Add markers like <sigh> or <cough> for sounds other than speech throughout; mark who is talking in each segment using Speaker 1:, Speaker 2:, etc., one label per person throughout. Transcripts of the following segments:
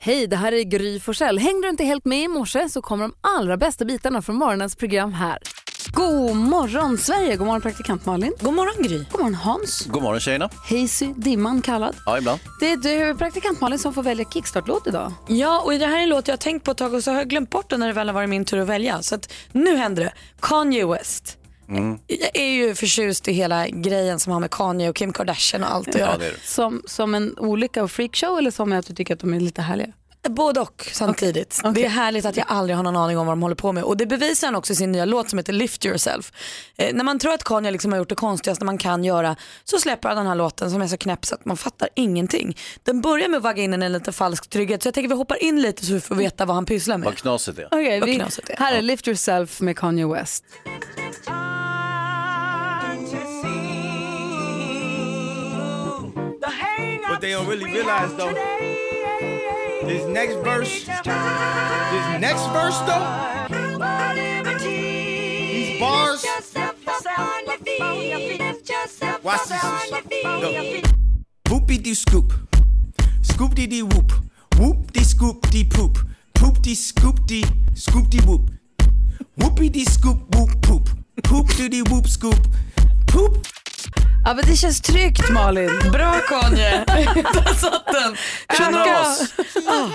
Speaker 1: Hej, det här är Gry Forssell. Hängde du inte helt med i morse så kommer de allra bästa bitarna från morgonens program här. God morgon Sverige, god morgon praktikant Malin.
Speaker 2: God morgon Gry.
Speaker 1: God morgon Hans.
Speaker 3: God morgon tjejerna.
Speaker 1: Hazy, dimman kallad.
Speaker 3: Ja, ibland.
Speaker 1: Det är du, praktikant Malin, som får välja kickstart-låt idag.
Speaker 2: Ja, och det här är en låt jag har tänkt på ett tag och så har jag glömt bort den när det väl har varit min tur att välja. Så att nu händer det. Kanye West. Jag är ju förtjust i hela grejen som har med Kanye och Kim Kardashian och allt att göra.
Speaker 3: är du.
Speaker 1: Som, som en olycka och freakshow eller som att du tycker att de är lite härliga?
Speaker 2: Både och samtidigt. Det är härligt att jag aldrig har någon aning om vad de håller på med. Och det bevisar han också i sin nya låt som heter Lift Yourself. Eh, när man tror att Kanye liksom har gjort det konstigaste man kan göra så släpper han den här låten som är så knäpp så att man fattar ingenting. Den börjar med att vagga in en liten falsk trygghet så jag tänker vi hoppar in lite så vi får veta vad han pysslar med.
Speaker 3: Vad knasigt det är.
Speaker 1: Okej,
Speaker 2: Vad
Speaker 1: vi-
Speaker 2: knasigt det är.
Speaker 1: här är Lift Yourself med Kanye West.
Speaker 4: But they don't really realize though. This next verse, this next verse though, these bars. Watch this. Go. Whoopie doo scoop, scoop dee dee whoop, whoop dee scoop dee poop, poop dee scoop dee scoop dee whoop, whoopie dee scoop whoop poop, poop doo dee whoop scoop, poop.
Speaker 1: Ja, men det känns tryggt Malin.
Speaker 2: Bra
Speaker 1: <laughs>
Speaker 2: Kanye! Där satt den!
Speaker 3: Knas.
Speaker 1: Ja,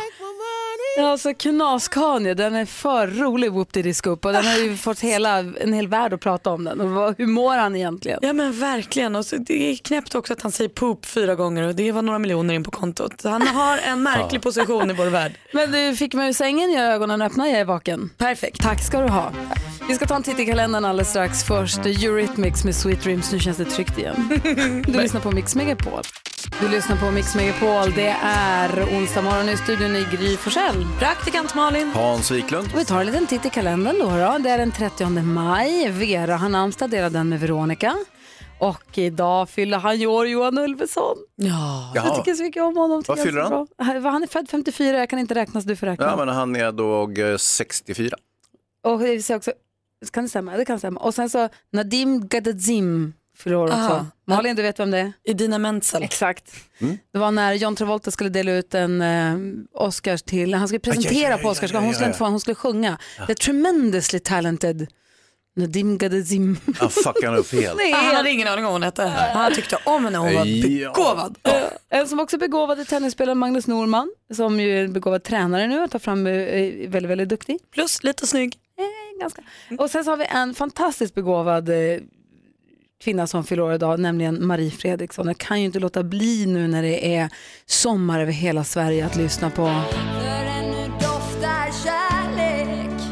Speaker 1: Alltså Knas-Kanye, den är för rolig whoop diddy scoop och den har
Speaker 2: Ah.
Speaker 1: ju fått hela, en hel värld att prata om den. Och vad, hur mår han egentligen?
Speaker 2: Ja men verkligen. Och så det är knäppt också att han säger poop fyra gånger och det var några miljoner in på kontot. Så Han har <laughs> en märklig position i vår värld.
Speaker 1: Men du fick mig ur sängen, jag har ögonen öppna, jag är vaken. Perfekt. Tack ska du ha. Vi ska ta en titt i kalendern alldeles strax. Först Eurythmics med Sweet Dreams. Nu känns det tryggt
Speaker 2: <laughs>
Speaker 1: igen. Du lyssnar på Mix Megapol. Du lyssnar på Mix Megapol. Det är onsdag morgon i studion i Gry Forssell.
Speaker 2: Praktikant Malin.
Speaker 3: Hans Wiklund.
Speaker 1: Och Vi tar en liten titt i kalendern då. då. Det är den 30 maj. Vera har namnsdag, delar den med Veronica. Och idag fyller han ju år, Johan Ulveson.
Speaker 2: Ja.
Speaker 1: Jag
Speaker 3: Jaha.
Speaker 1: tycker så mycket om honom. tycker
Speaker 3: Vad
Speaker 1: jag är
Speaker 3: fyller
Speaker 1: så
Speaker 3: han?
Speaker 1: bra. Han är född 54, jag kan inte räkna så du får räkna.
Speaker 3: Ja, men han är då eh, 64.
Speaker 1: Och det vill säga också, kan det stämma? Det kan stämma. Och sen så Nadim Gadazim fyller år också.
Speaker 3: Ah.
Speaker 2: Aha.
Speaker 1: Malin, du vet vem det är?
Speaker 2: Idina Menzel.
Speaker 1: Exakt. Det var när John Travolta skulle dela ut en eh, Oscars till, han skulle presentera
Speaker 3: ja, ja,
Speaker 1: på Oscarsgalan,
Speaker 3: ja,
Speaker 1: hon
Speaker 3: ja,
Speaker 1: skulle inte
Speaker 3: ja.
Speaker 1: få, hon skulle sjunga. The tremendously talented Nadim Gadazim.
Speaker 3: Han fuckar han upp helt.
Speaker 1: <laughs> Det
Speaker 2: Han
Speaker 1: är
Speaker 2: hade ingen aning om vad hon hette. Han tyckte om henne, hon var
Speaker 3: Ja.
Speaker 2: begåvad.
Speaker 1: En som också är begåvad är tennisspelaren Magnus Norman, som ju är en begåvad tränare nu och tar fram, eh, är väldigt, väldigt duktig.
Speaker 2: Plus lite snygg.
Speaker 1: Ganska. Och sen så har vi en fantastiskt begåvad eh, kvinna som fyller år idag, nämligen Marie Fredriksson. Jag kan ju inte låta bli nu när det är sommar över hela Sverige att lyssna på.
Speaker 5: För ännu doftar kärlek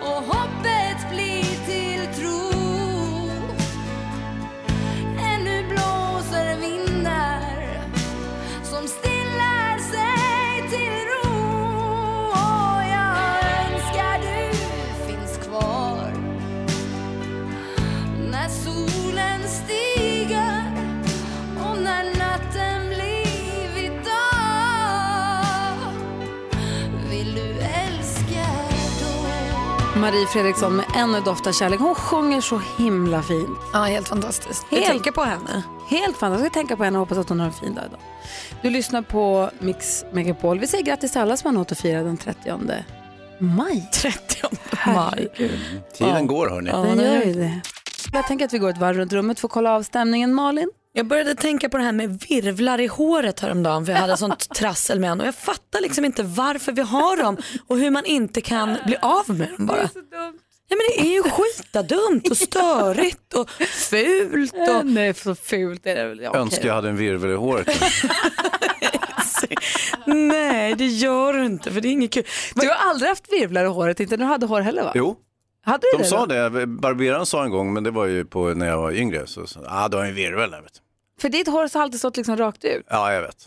Speaker 5: och hoppet blir till tro. Ännu blåser vindar som stillar sig till ro. Och jag önskar du finns kvar när solen stiger och när natten blivit dag vill du älska då?
Speaker 1: Marie Fredriksson med Ännu doftar kärlek. Hon sjunger så himla fint.
Speaker 2: Ja, helt fantastiskt.
Speaker 1: Helt.
Speaker 2: Jag tänker på henne. <laughs>
Speaker 1: Helt fantastiskt. Jag ska tänka på henne och hoppas att hon har en fin dag idag. Du lyssnar på Mix Megapol. Vi säger grattis till alla som har något att fira den 30 maj.
Speaker 2: 30 maj.
Speaker 3: Tiden går hörni.
Speaker 2: Ja,
Speaker 1: Den
Speaker 2: det
Speaker 1: gör
Speaker 2: gör
Speaker 1: ju det. Jag tänker att vi går ett varv runt rummet för att kolla av stämningen. Malin?
Speaker 2: Jag började tänka på det här med virvlar i håret häromdagen för jag
Speaker 1: <laughs>
Speaker 2: hade sånt trassel med en och jag fattar liksom inte varför vi har dem och hur man inte kan bli av med dem bara. Ja, men det är ju skitadumt
Speaker 1: <laughs>
Speaker 2: och störigt och fult. Och...
Speaker 1: Nej, så fult är det väl. Ja, okej.
Speaker 3: Önskar
Speaker 1: <laughs>
Speaker 3: jag hade en virvel i
Speaker 2: <laughs>
Speaker 3: håret.
Speaker 2: Nej det gör du inte för det är inget kul. Typ,
Speaker 1: Du har aldrig haft virvlar i håret, inte när du hade hår heller va?
Speaker 3: Jo,
Speaker 1: Hade du
Speaker 3: de
Speaker 1: det
Speaker 3: sa
Speaker 1: då?
Speaker 3: det. Barberaren sa en gång, men det var ju på när jag var yngre. Så, så, ah, du har en virvel där vet du.
Speaker 1: För ditt hår har alltid stått liksom rakt ut.
Speaker 3: Ja, jag vet.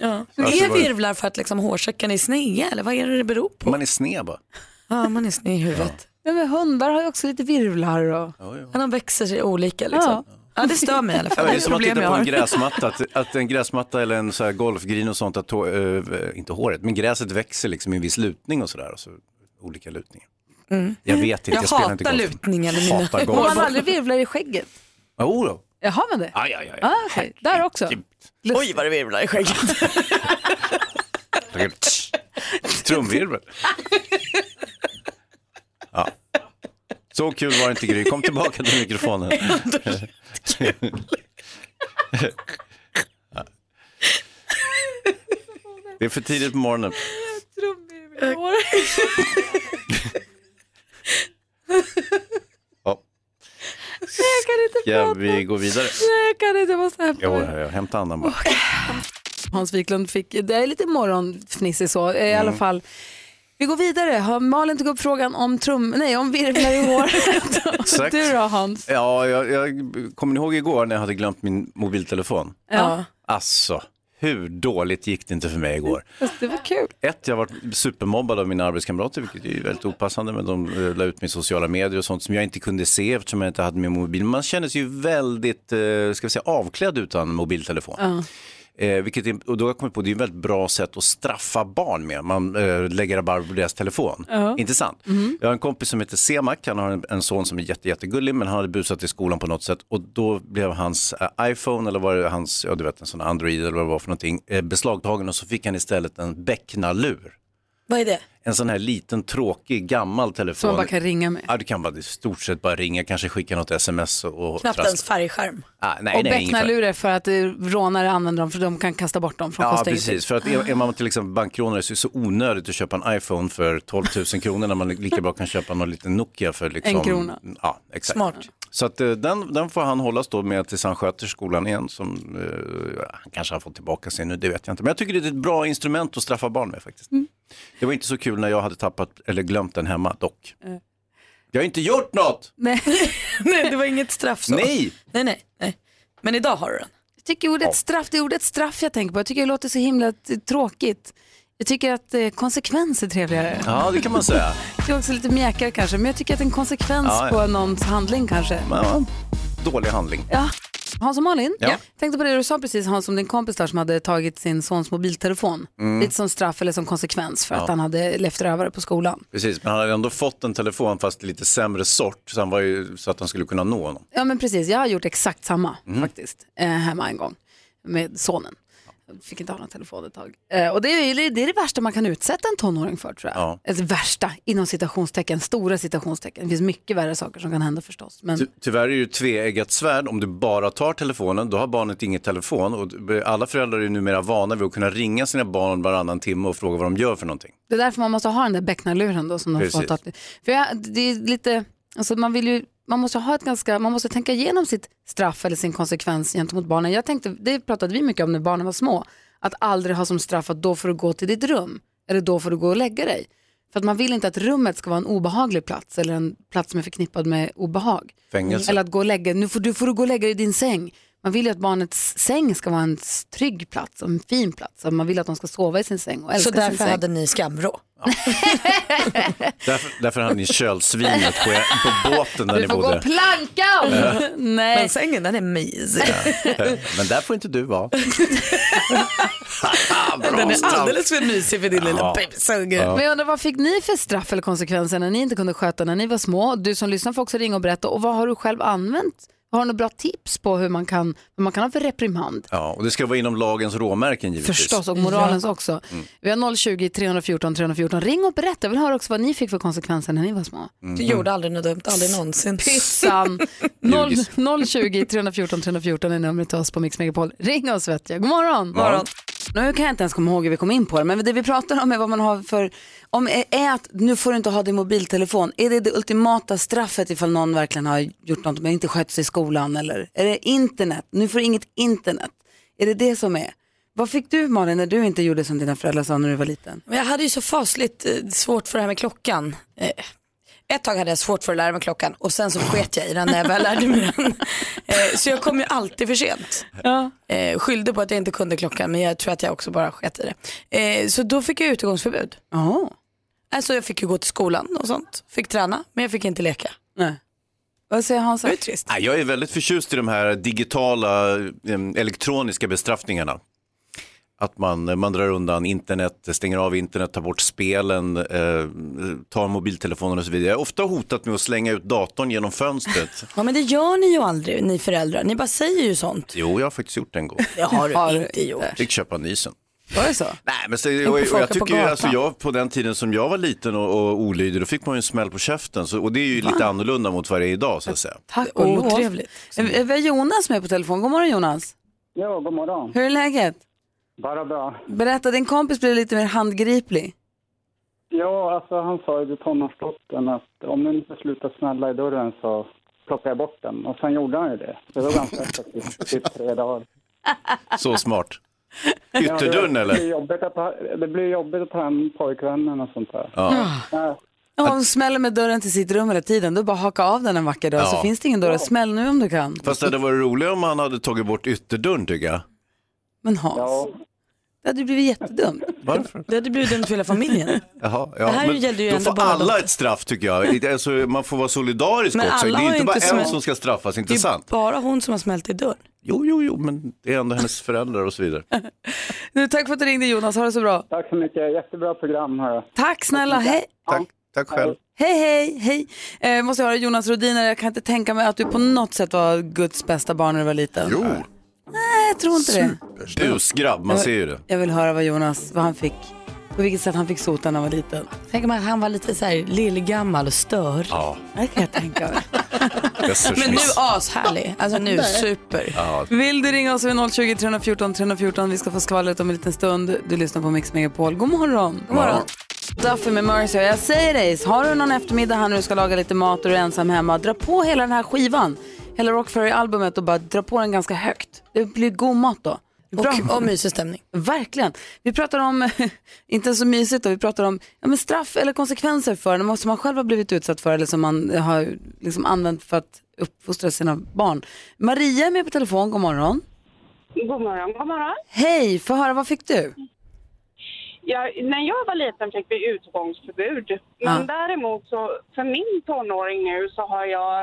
Speaker 2: Ja.
Speaker 3: Alltså,
Speaker 2: Är
Speaker 3: vad-
Speaker 2: virvlar för att liksom hårsäcken är sneda eller vad är det det beror på?
Speaker 3: Man är sned bara.
Speaker 2: Ja man är sned i huvudet.
Speaker 1: Men, men hundar har ju också lite virvlar och...
Speaker 3: Ja, ja.
Speaker 2: Men de växer sig olika liksom. Ja. det stör mig i alla
Speaker 3: Ja,
Speaker 2: fall.
Speaker 3: Det är som att
Speaker 2: problem
Speaker 3: titta
Speaker 2: jag
Speaker 3: på en
Speaker 2: har.
Speaker 3: gräsmatta, att, att en gräsmatta eller en så här golfgrin och sånt, att, hå- eh, inte håret, men gräset växer liksom i en viss lutning och sådär. Alltså, olika lutningar. Jag vet inte, jag,
Speaker 2: Mm. Jag
Speaker 3: spelar inte
Speaker 2: hatar
Speaker 3: golf.
Speaker 2: lutningen i mina
Speaker 3: Hatar
Speaker 2: <laughs>
Speaker 1: Har
Speaker 3: golf.
Speaker 1: man aldrig virvlar i skägget?
Speaker 3: Jo då.
Speaker 1: Ja, har man det?
Speaker 3: Aj, aj, aj.
Speaker 1: Ah, okej. Där också?
Speaker 3: Herregud.
Speaker 1: Lust-
Speaker 2: Oj vad det virvlar i skägget.
Speaker 3: Tsch. Trumvirvel. Ja. Så kul var det inte Gry. Kom tillbaka till mikrofonen. Ja. Det är för tidigt på morgonen. Ja. Ska vi gå vidare?
Speaker 1: Jag kan inte, jag måste hämta
Speaker 3: Jo,
Speaker 1: mig.
Speaker 3: jag hämtar andan bara.
Speaker 1: Hans Wiklund fick, det är lite morgonfnissig så, eh, i alla
Speaker 3: Mm.
Speaker 1: fall. Vi går vidare. Har Malin tog upp frågan om trum, nej om virvlar i håret.
Speaker 3: <laughs> Exakt.
Speaker 1: du då Hans?
Speaker 3: Ja, jag, jag kommer ni ihåg igår när jag hade glömt min mobiltelefon?
Speaker 1: Ja.
Speaker 3: Alltså, hur dåligt gick det inte för mig igår?
Speaker 1: Fast det var kul.
Speaker 3: Ett, jag har varit supermobbad av mina arbetskamrater, vilket är ju väldigt opassande, men de eh, la ut mig i sociala medier och sånt som jag inte kunde se eftersom jag inte hade min mobil. Man känner sig ju väldigt, eh, ska vi säga, avklädd utan mobiltelefon. Eh, vilket är, och då har jag kommit på, det är ett väldigt bra sätt att straffa barn med. Man eh, lägger rabarber på deras telefon. Inte sant?
Speaker 1: Mhm.
Speaker 3: Jag har en kompis som heter Semak, han har en, en son som är jätte, jättegullig men han hade busat i skolan på något sätt och då blev hans eh, iPhone eller var det hans, ja du vet en sån Android eller vad det var för någonting, eh, beslagtagen och så fick han istället en becknarlur.
Speaker 2: Vad är det?
Speaker 3: En sån här liten tråkig gammal telefon.
Speaker 1: Som man bara kan ringa med.
Speaker 3: Ja, du kan bara i stort sett bara ringa, kanske skicka något sms och... och
Speaker 2: Knappt
Speaker 3: trassla.
Speaker 2: ens färgskärm.
Speaker 3: Ah, nej,
Speaker 1: Och
Speaker 3: nej, ingen färg.
Speaker 1: becknarlurar för att eh, rånare använder dem för de kan kasta bort dem från
Speaker 3: Ja,
Speaker 1: första
Speaker 3: precis. För att är, är man till exempel bankrånare så är det så onödigt att köpa en iPhone för 12 000 kronor när man lika bra kan köpa någon liten Nokia för liksom...
Speaker 1: En krona.
Speaker 3: Ja, exakt.
Speaker 2: Smart.
Speaker 3: Så att eh, den, den får han hållas då med tills han sköter skolan igen som eh, han kanske har fått tillbaka sig nu, det vet jag inte. Men jag tycker det är ett bra instrument att straffa barn med faktiskt. Det var inte så kul när jag hade tappat eller glömt den hemma dock. Jag har inte gjort något!
Speaker 1: <laughs> Nej,
Speaker 2: <laughs> nej, det var inget straff så.
Speaker 3: Nej!
Speaker 2: nej, nej, nej. Men idag har du den.
Speaker 1: jag tycker ordet straff, det är ordet straff jag tänker på. Jag tycker det låter så himla t- tråkigt. Jag tycker att eh, konsekvens är trevligare.
Speaker 3: Ja, det kan man säga.
Speaker 1: Det är också lite mjäkigare kanske, men jag tycker att en konsekvens
Speaker 3: Ja, ja.
Speaker 1: på någons handling kanske.
Speaker 3: Men, ja, dålig handling.
Speaker 1: Ja. Hans och Malin,
Speaker 3: Ja.
Speaker 1: tänkte på det du sa precis Hans om din kompis där som hade tagit sin sons mobiltelefon.
Speaker 3: Mm.
Speaker 1: Lite som straff eller som konsekvens för att han hade levt rövare på skolan.
Speaker 3: Precis, men han hade ändå fått en telefon fast lite sämre sort så, han var ju, så att han skulle kunna nå honom.
Speaker 1: Ja men precis, jag har gjort exakt samma
Speaker 3: Mm.
Speaker 1: faktiskt eh, hemma en gång med sonen. Jag Fick inte ha någon telefon ett tag. Eh, och det är, ju- det är det värsta man kan utsätta en tonåring för tror jag.
Speaker 3: Ja.
Speaker 1: Alltså, värsta, inom citationstecken, stora citationstecken. Det finns mycket värre saker som kan hända förstås. Men
Speaker 3: Ty tyvärr är det ju ett tveeggat svärd, om du bara tar telefonen då har barnet inget telefon och du- alla föräldrar är ju numera vana vid att kunna ringa sina barn varannan timme och fråga vad de gör för någonting.
Speaker 1: Det är därför man måste ha den där becknarluren då som de får
Speaker 3: Precis.
Speaker 1: ta till. För jag, det är lite, alltså man vill ju, man måste ha ett ganska, man måste tänka igenom sitt straff eller sin konsekvens gentemot barnen. Jag tänkte, det pratade vi mycket om när barnen var små, att aldrig ha som straff att då får du gå till ditt rum, eller då får du gå och lägga dig. För att man vill inte att rummet ska vara en obehaglig plats eller en plats som är förknippad med obehag.
Speaker 3: Fängelse.
Speaker 1: Eller att gå och lägga, nu får du, får du gå och lägga dig i din säng. Man vill ju att barnets säng ska vara en s- trygg plats och en fin plats. Och Man vill att de ska sova i sin säng och
Speaker 2: Så
Speaker 1: älska sin
Speaker 2: därför
Speaker 1: säng.
Speaker 2: hade ni skamvrå.
Speaker 3: Därför, därför hade ni kölsvinet på, er, på båten där
Speaker 1: Du
Speaker 3: ni
Speaker 1: får gå
Speaker 3: bodde.
Speaker 1: och planka om. <laughs> Nej.
Speaker 2: Men sängen den är mysig.
Speaker 3: Men där får inte du
Speaker 1: <laughs>
Speaker 3: vara. <laughs>
Speaker 2: Den är alldeles för mysig för din lilla
Speaker 3: Ja.
Speaker 2: bebissunge.
Speaker 1: Men jag undrar, vad fick ni för straff eller konsekvenser när ni inte kunde sköta när ni var små? Du som lyssnar får också ringa och berätta. Och vad har du själv använt? Har du några bra tips på hur man kan, vad man kan ha för reprimand?
Speaker 3: Ja, och det ska vara inom lagens råmärken givetvis.
Speaker 1: Förstås, och moralens också.
Speaker 3: Mm.
Speaker 1: Vi har 020-314 314. Ring och berätta. Jag vill höra också vad ni fick för konsekvenser när ni var
Speaker 3: Mm.
Speaker 1: små.
Speaker 2: Du gjorde aldrig något dumt, aldrig någonsin.
Speaker 1: Pytsan! 0-
Speaker 3: <laughs> Ljugis.
Speaker 1: 020-314 314 är numret till oss på Mix Megapol. Ring oss vet jag. God morgon!
Speaker 2: Morgon.
Speaker 1: Nu kan jag inte ens komma ihåg hur vi kom in på det, men det vi pratar om är vad man har för, om är- är att nu får du inte ha din mobiltelefon. Är det det ultimata straffet ifall någon verkligen har gjort något men inte skött sig i skolan eller? Är det internet? Nu får du inget internet. Är det det som är? Vad fick du Malin när du inte gjorde som dina föräldrar sa när du var liten?
Speaker 2: Men jag hade ju så fasligt eh, svårt för det här med klockan. Eh, Ett tag hade jag svårt för att lära mig klockan och sen så sket jag i den när jag väl lärde mig <laughs> den. Eh, Så jag kom ju alltid för sent. Eh, Skyllde på att jag inte kunde klockan men jag tror att jag också bara sket i det. Eh, Så då fick jag utegångsförbud.
Speaker 1: Ja,
Speaker 2: Alltså jag fick ju gå till skolan och sånt. Fick träna men jag fick inte leka.
Speaker 1: nej. Vad säger Hans?
Speaker 2: Det var ju trist.
Speaker 3: Nej, Ah, Jag är väldigt förtjust i de här digitala, em, elektroniska bestraffningarna. Att man, man drar undan internet, stänger av internet, tar bort spelen, eh, tar mobiltelefonen och så vidare. Jag har ofta hotat med att slänga ut datorn genom <laughs> fönstret.
Speaker 2: Ja men det gör ni ju aldrig ni föräldrar. Ni bara säger ju sånt.
Speaker 3: Jo, jag har faktiskt gjort det en gång.
Speaker 2: Det har du
Speaker 1: Har du
Speaker 2: inte gjort.
Speaker 3: Fick köpa nysen.
Speaker 1: Var det så?
Speaker 3: Nej, men så, och,
Speaker 2: på
Speaker 3: och
Speaker 2: folk
Speaker 3: jag
Speaker 2: på
Speaker 3: tycker ju,
Speaker 2: gatan.
Speaker 3: alltså, jag, på den tiden som jag var liten och, och olydig, då fick man ju en smäll på käften. Så, och det är ju lite annorlunda mot vad det är idag, så att säga.
Speaker 1: Tack och lov.
Speaker 2: Otrevligt.
Speaker 1: Eh, Vi har Jonas med på telefon. God morgon Jonas.
Speaker 6: Ja, god morgon.
Speaker 1: Hur är läget?
Speaker 6: Bara bra.
Speaker 1: Berätta, din kompis blev lite mer handgriplig.
Speaker 6: Ja, alltså han sa ju till tonårsdottern att om ni inte slutar snälla i dörren så plockar jag bort den. Och sen gjorde han ju det. Det var ganska effektivt,
Speaker 3: <laughs>
Speaker 6: typ tre dagar.
Speaker 3: Så
Speaker 2: <laughs>
Speaker 3: smart.
Speaker 6: Ja, det-
Speaker 3: Ytterdörren
Speaker 6: Det blir
Speaker 3: eller?
Speaker 6: jobbigt att ta, det blir jobbigt att ta hem pojkvännen och sånt där.
Speaker 3: Ja.
Speaker 6: Nej,
Speaker 1: Om hon smäller med dörren till sitt rum hela tiden, då bara haka av den en vacker dag
Speaker 3: Ja.
Speaker 1: så finns det ingen dörr. Smäll nu om du kan.
Speaker 3: Fast det hade varit roligare om han hade tagit bort ytterdörren tycker jag.
Speaker 1: Men Hans,
Speaker 6: ja,
Speaker 1: det hade ju blivit jättedumt.
Speaker 3: Varför?
Speaker 2: Det hade blivit dumt för hela familjen.
Speaker 3: Jaha, ja,
Speaker 2: Det här
Speaker 3: men
Speaker 2: gällde ju
Speaker 3: då
Speaker 2: ändå
Speaker 3: får
Speaker 2: bara
Speaker 3: alla
Speaker 2: dotter.
Speaker 3: ett straff tycker jag. Det- Alltså, man får vara solidarisk
Speaker 2: Men
Speaker 3: också. Det
Speaker 2: alla
Speaker 3: är
Speaker 2: har
Speaker 3: ju inte
Speaker 2: ju
Speaker 3: bara
Speaker 2: inte
Speaker 3: en
Speaker 2: smält.
Speaker 3: som ska straffas, inte
Speaker 2: Det är ju
Speaker 3: sant?
Speaker 2: bara hon som har smält i dörren.
Speaker 3: Jo, jo, jo, men det är ändå hennes föräldrar och så vidare.
Speaker 1: Nu, tack för att du ringde Jonas, ha det så bra.
Speaker 6: tack så mycket. Jättebra program, hörru.
Speaker 1: Tack snälla, hej.
Speaker 3: Tack, tack själv.
Speaker 1: Hej, hej, hej. Eh, måste jag höra Jonas Rodiner, jag kan inte tänka mig att du på något sätt var Guds bästa barn när du var
Speaker 3: <laughs>
Speaker 1: liten.
Speaker 3: Jo,
Speaker 1: Nej, jag tror inte det.
Speaker 3: busgrabb, man ser ju det.
Speaker 1: Jag vill höra vad Jonas, vad han fick, på vilket sätt han fick sota när han var liten.
Speaker 2: Tänk om han var lite så här lillgammal och stör.
Speaker 3: Ja,
Speaker 1: Det kan jag tänka mig.
Speaker 2: Men nu
Speaker 3: resursmiss.
Speaker 2: ashärlig. Alltså nu super.
Speaker 1: Vill du ringa oss vid 020 314 314? Vi ska få skvallret om en liten stund. Du lyssnar på Mix Megapol. God morgon. God
Speaker 3: morgon.
Speaker 1: Duffy med Mercy. Jag säger dig, har du någon eftermiddag här när du ska laga lite mat och du är ensam hemma, dra på hela den här skivan, hela Rock Ferry-albumet och bara dra på den ganska högt. Det blir god mat då. Bra.
Speaker 2: Och, och mysig stämning.
Speaker 1: Verkligen. Vi pratar om, <laughs> inte så mysigt då, vi pratar om ja, men straff eller konsekvenser för det som man själv har blivit utsatt för eller som man har liksom använt för att uppfostra sina barn. Maria är med på telefon, god morgon.
Speaker 7: God morgon, god morgon.
Speaker 1: Hej, få höra vad fick du?
Speaker 7: Jag, när jag var liten fick vi utgångsförbud. Men
Speaker 1: Ja.
Speaker 7: däremot så, för min tonåring nu så har jag,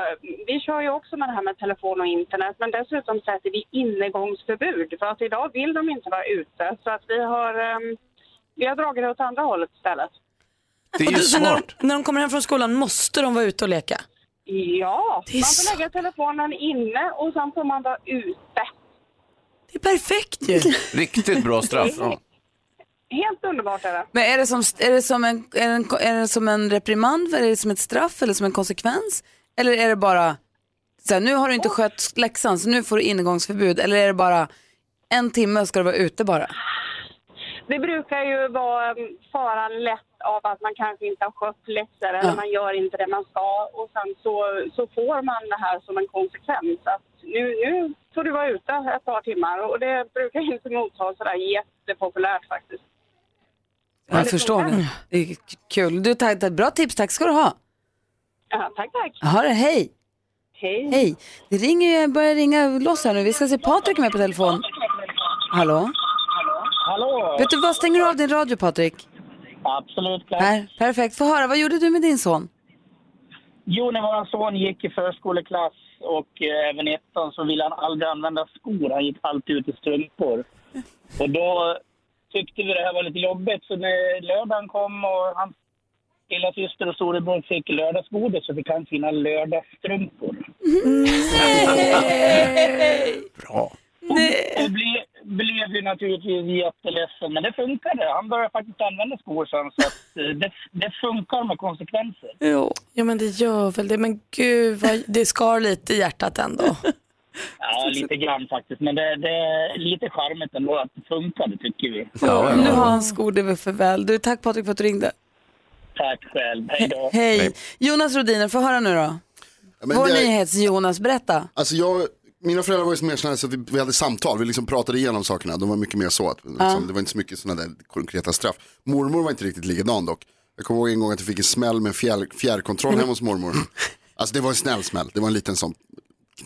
Speaker 7: vi kör ju också med det här med telefon och internet, men dessutom sätter vi innegångsförbud. För att idag vill de inte vara ute, så att vi har, ehm, vi har dragit det åt andra hållet istället.
Speaker 3: Det är ju
Speaker 2: Men när, de,
Speaker 3: smart.
Speaker 2: när de kommer hem från skolan måste de vara ute och leka.
Speaker 7: Ja,
Speaker 2: Det är
Speaker 7: man
Speaker 2: så-
Speaker 7: får lägga telefonen inne och sen får man vara ute.
Speaker 2: Det är perfekt ju.
Speaker 3: Riktigt bra straff.
Speaker 7: Helt underbart är det.
Speaker 1: Men är det som, är det som, en, är det en, är det som en reprimand, är det som ett straff eller som en konsekvens? Eller är det bara, så här, nu har du inte skött läxan så nu får du ingångsförbud eller är det bara en timme ska du vara ute bara?
Speaker 7: Det brukar ju vara mm, faran lätt av att man kanske inte har skött läxor eller man gör inte det man ska och sen så, så får man det här som en konsekvens att nu, nu får du vara ute ett par timmar och det brukar inte mottas sådär jättepopulärt faktiskt.
Speaker 1: Jag förstår det. Det är kul. Du, tack, tack, bra tips, tack ska du ha.
Speaker 7: Ja, tack, tack.
Speaker 1: Jaha, det, hej.
Speaker 7: Hej.
Speaker 1: Hej. Det ringer ju, jag börjar ringa loss här nu. Vi ska se Patrik är med på telefon. Hallå?
Speaker 6: Hallå!
Speaker 1: Vet du vad, stänger du av din radio Patrik?
Speaker 6: Absolut klart.
Speaker 1: Per, perfekt. Få höra, vad gjorde du med din son?
Speaker 6: Jo, när vår son gick i förskoleklass och eh, även i ettan så ville han aldrig använda skor. Han gick alltid ut i strumpor. Och då tyckte vi det här var lite jobbigt. Så när lördagen kom och hans lilla syster och storebror fick lördagsgodis så fick han sina lördagsstrumpor.
Speaker 3: Bra.
Speaker 6: Och ble, blev ju naturligtvis jätteledsen, men det funkade. Han började faktiskt använda skor sen, så att, eh, det, det funkar med konsekvenser.
Speaker 2: Jo. Ja men det gör väl det. Men gud, vad, det skar lite i hjärtat ändå.
Speaker 6: Ja, lite grann faktiskt. Men det, det är lite charmigt ändå att det funkade, tycker vi.
Speaker 3: Ja,
Speaker 1: Nu
Speaker 3: ja.
Speaker 1: har han skor, det är väl för väl. Du, tack Patrik för att du ringde.
Speaker 6: Tack själv. Hej då.
Speaker 1: Hej. Jonas Rodiner, få höra nu då.
Speaker 8: Ja, men
Speaker 1: Vår
Speaker 8: det-
Speaker 1: nyhets-Jonas, berätta.
Speaker 8: Alltså jag, mina föräldrar var ju mer sådana här så att vi, vi hade samtal, vi liksom pratade igenom sakerna. De var mycket mer så, att, liksom, det var inte så mycket sådana där konkreta straff. Mormor var inte riktigt likadan dock. Jag kommer ihåg en gång att jag fick en smäll med en fjär, fjärrkontroll hemma hos mormor. Alltså det var en snäll smäll, det var en liten sån,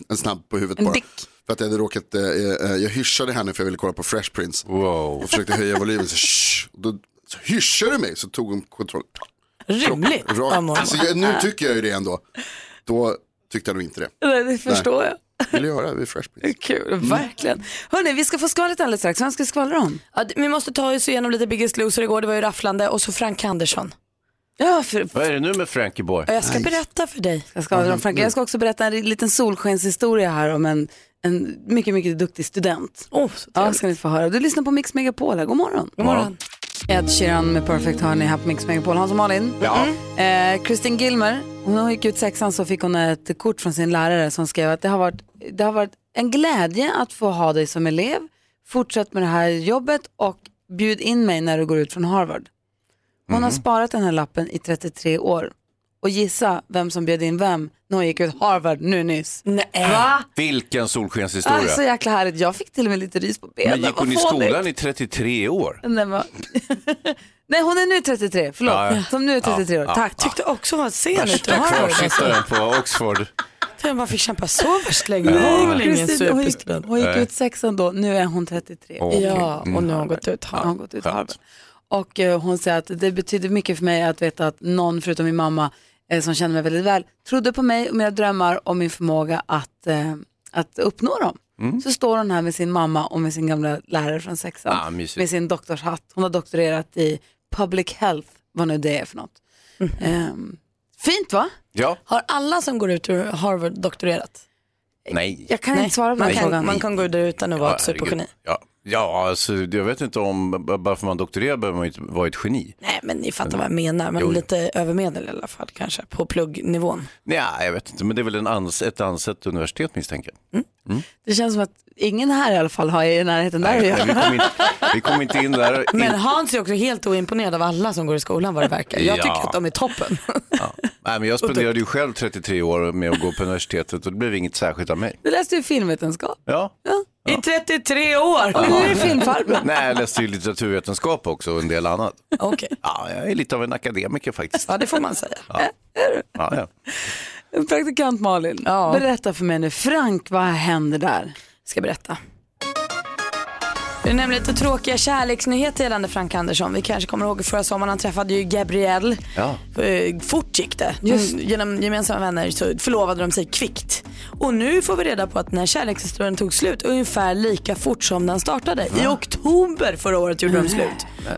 Speaker 8: en snabb på huvudet bara.
Speaker 1: dick.
Speaker 8: För att jag hade råkat, eh, eh, jag hyschade henne för jag ville kolla på Fresh Prince.
Speaker 3: Wow.
Speaker 8: Och försökte höja volymen, så, shh, och då så hyschade du mig, så tog hon kontrollen.
Speaker 2: Rimligt av
Speaker 8: Rakt.
Speaker 2: mormor.
Speaker 8: Alltså, jag, nu tycker jag ju det ändå. Då tyckte jag nog inte det.
Speaker 1: <laughs> Nej, Det förstår jag.
Speaker 8: Vill jag höra, det är Fresh Prince.
Speaker 1: Kul,
Speaker 8: Mm.
Speaker 1: verkligen. Hörni, vi ska få skvallret alldeles strax. Vem ska vi skvallra om?
Speaker 2: Ja, det- vi måste ta oss igenom lite Biggest Loser igår, det var ju rafflande. Och så Frank Andersson.
Speaker 1: Ja, för
Speaker 3: Vad är det nu med Frankie Boy?
Speaker 2: Ja, Jag ska berätta för dig.
Speaker 1: Jag ska, jag ska också berätta en liten solskenshistoria här om en en mycket, mycket duktig student.
Speaker 2: Åh, så
Speaker 1: Ja, ska ni få höra. Du lyssnar på Mix Megapol här. God morgon. God
Speaker 3: morgon.
Speaker 1: Ed Sheeran med Perfect Honey här på Mix Megapol. Hans och Malin.
Speaker 3: Ja.
Speaker 1: Eh, Kristin Gilmer, hon när hon gick ut sexan så fick hon ett kort från sin lärare som skrev att det har varit, det har varit en glädje att få ha dig som elev. Fortsätt med det här jobbet och bjud in mig när du går ut från Harvard. Hon
Speaker 3: Mm.
Speaker 1: har sparat den här lappen i 33 år. Och gissa vem som bjöd in vem när hon gick ut Harvard nu nyss.
Speaker 2: Nej.
Speaker 1: Va?
Speaker 3: Vilken solskenshistoria.
Speaker 1: Ah, så jäkla härligt. Jag fick till och med lite rys på benen.
Speaker 3: Men gick hon
Speaker 1: Vad
Speaker 3: i
Speaker 1: fånigt.
Speaker 3: skolan i 33 år?
Speaker 1: Den var... <laughs> Nej, hon är nu 33. Förlåt.
Speaker 3: Ja, ja.
Speaker 1: Som nu är 33 år.
Speaker 3: Ja,
Speaker 1: Tack.
Speaker 2: Tyckte också var sen ut.
Speaker 3: Värsta kvarsittaren på Oxford.
Speaker 2: Jag bara fick kämpa så värst länge. Det var väl ingen
Speaker 1: Kristin, hon, gick,
Speaker 2: superstudent.
Speaker 1: hon gick
Speaker 3: Nej.
Speaker 1: ut sexan då. Nu är hon 33.
Speaker 3: Åh,
Speaker 2: Ja,
Speaker 3: mm.
Speaker 2: och nu har hon gått ut.
Speaker 1: Ja,
Speaker 2: Har
Speaker 1: hon har gått ut Harvard. Och eh, hon säger att det betyder mycket för mig att veta att någon förutom min mamma eh, som känner mig väldigt väl trodde på mig och mina drömmar och min förmåga att, eh, att uppnå dem.
Speaker 3: Mm.
Speaker 1: Så står hon här med sin mamma och med sin gamla lärare från sexan.
Speaker 3: Ah, mysigt.
Speaker 1: med sin doktorshatt. Hon har doktorerat i public health, vad nu det är för något.
Speaker 3: Mm.
Speaker 1: Ehm, fint va?
Speaker 3: Ja,
Speaker 2: Har alla som går ut ur Harvard doktorerat?
Speaker 3: nej.
Speaker 1: Jag kan inte svara på den
Speaker 2: man kan,
Speaker 1: frågan.
Speaker 2: man kan gå där utan att vara
Speaker 3: Ja,
Speaker 2: ett
Speaker 3: herregud.
Speaker 2: supergeni.
Speaker 3: Ja, ja alltså, jag vet inte om, b- bara för man doktorerar behöver man ju inte vara ett geni.
Speaker 2: Nej men ni fattar vad jag menar, men
Speaker 3: Jo, jo.
Speaker 2: lite övermedel i alla fall kanske på pluggnivån.
Speaker 3: Nej, jag vet inte, men det är väl en ans, ett ansett universitet misstänker jag.
Speaker 1: Det känns som att ingen här i alla fall har i närheten där
Speaker 3: Nej,
Speaker 1: är jag.
Speaker 3: vi kom inte, vi kom inte in
Speaker 2: <laughs>
Speaker 3: där.
Speaker 2: Men Hans är också helt oimponerad av alla som går i skolan vad det verkar. Jag tycker
Speaker 3: Ja.
Speaker 2: att de är toppen.
Speaker 3: Ja. Nej, men jag spenderade ju själv 33 år med att gå på universitetet och det blev inget särskilt av mig.
Speaker 1: Du läste ju filmvetenskap.
Speaker 2: <laughs>
Speaker 3: Ja.
Speaker 2: I 33 år!
Speaker 1: Och nu är du filmfarbror.
Speaker 3: Nej, jag läste ju litteraturvetenskap också och en del annat.
Speaker 2: Okej,
Speaker 3: Ja, jag är lite av en akademiker faktiskt.
Speaker 2: ja det får man säga.
Speaker 3: Ja, ja.
Speaker 1: Praktikant Malin,
Speaker 2: Ja.
Speaker 1: berätta för mig nu. Frank, vad händer där?
Speaker 2: ska berätta. Det är nämligen lite tråkiga kärleksnyheter gällande Frank Andersson. Vi kanske kommer ihåg förra sommaren, han träffade ju Gabrielle.
Speaker 3: Ja.
Speaker 2: Eh, Fort gick det. Mm, Genom gemensamma vänner så förlovade de sig kvickt. Och nu får vi reda på att den här kärlekshistorien tog slut ungefär lika fort som den startade. I oktober förra året gjorde de slut.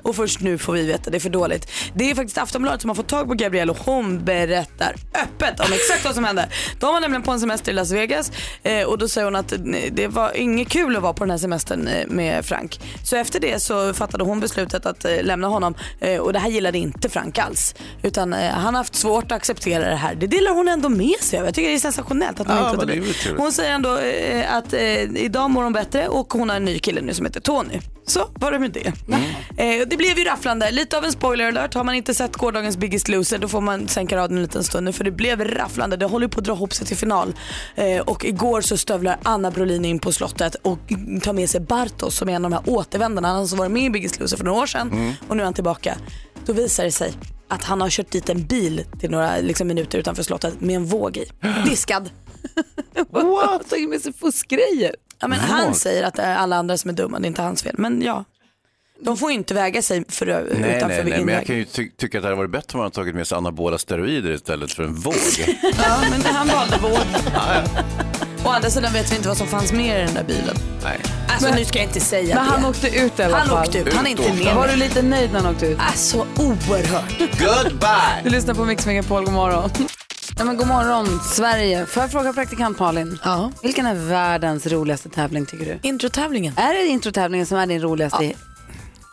Speaker 2: Och först nu får vi veta, det är för dåligt. Det är faktiskt Aftonbladet som har fått tag på Gabrielle och hon berättar öppet om exakt vad som hände. De var nämligen på en semester i Las Vegas eh, och då säger hon att eh, det var inget kul att vara på den här semestern eh, med Frank. Så efter det så fattade hon beslutet att eh, lämna honom eh, och det här gillade inte Frank alls. Utan eh, han har haft svårt att acceptera det här. Det delar hon ändå med sig av. Jag tycker det är sensationellt att hon
Speaker 3: Ja,
Speaker 2: inte
Speaker 3: men
Speaker 2: tar
Speaker 3: det är
Speaker 2: det.
Speaker 3: väl trevligt.
Speaker 2: Hon säger ändå eh, att eh, idag mår hon bättre och hon har en ny kille nu som heter Tony. Så var det med det. Eh, det blev ju rafflande. Lite av en spoiler alert. Har man inte sett gårdagens Biggest Loser då får man sänka raden en liten stund nu för det blev rafflande. Det håller ju på att dra ihop sig till final. Eh, och igår så stövlar Anna Brolin in på slottet och tar med sig Bartos som är en av de här återvändarna. Han som var med i Biggest Loser för några år sedan och nu är han tillbaka. Då visar det sig att han har kört dit en bil till några liksom, minuter utanför slottet med en våg i. Diskad.
Speaker 1: What? Har
Speaker 2: Alltså,
Speaker 1: tagit med sig fuskgrejer.
Speaker 2: Ja, men han säger att det är alla andra som är dumma, det är inte hans fel. Men ja, de får ju inte väga sig för,
Speaker 3: Nej,
Speaker 2: utanför
Speaker 3: nej, nej, men jag
Speaker 2: inväg.
Speaker 3: kan ju ty- tycka att det hade varit bättre om man hade tagit med sig anabola steroider istället för en
Speaker 2: <laughs>
Speaker 3: våg.
Speaker 2: Ja, men han valde vård. Å andra sidan vet vi inte vad som fanns mer i den där bilen.
Speaker 3: nej.
Speaker 2: Alltså nu ska jag inte säga
Speaker 1: Men
Speaker 2: det.
Speaker 1: han åkte ut i alla
Speaker 2: Han
Speaker 1: fall.
Speaker 2: åkte ut, han är inte
Speaker 3: Ut åkte
Speaker 2: med.
Speaker 3: han.
Speaker 1: Var
Speaker 2: Var
Speaker 1: du
Speaker 2: det-
Speaker 1: lite nöjd när han åkte ut?
Speaker 2: Alltså oerhört.
Speaker 3: Goodbye!
Speaker 1: Du lyssnar på Mix Megapol, god morgon. Ja, men god morgon, Sverige. Får jag fråga praktikant Malin?
Speaker 2: Ja.
Speaker 1: Vilken är världens roligaste tävling tycker du?
Speaker 2: Introtävlingen.
Speaker 1: Är det introtävlingen som är din roligaste? Ja.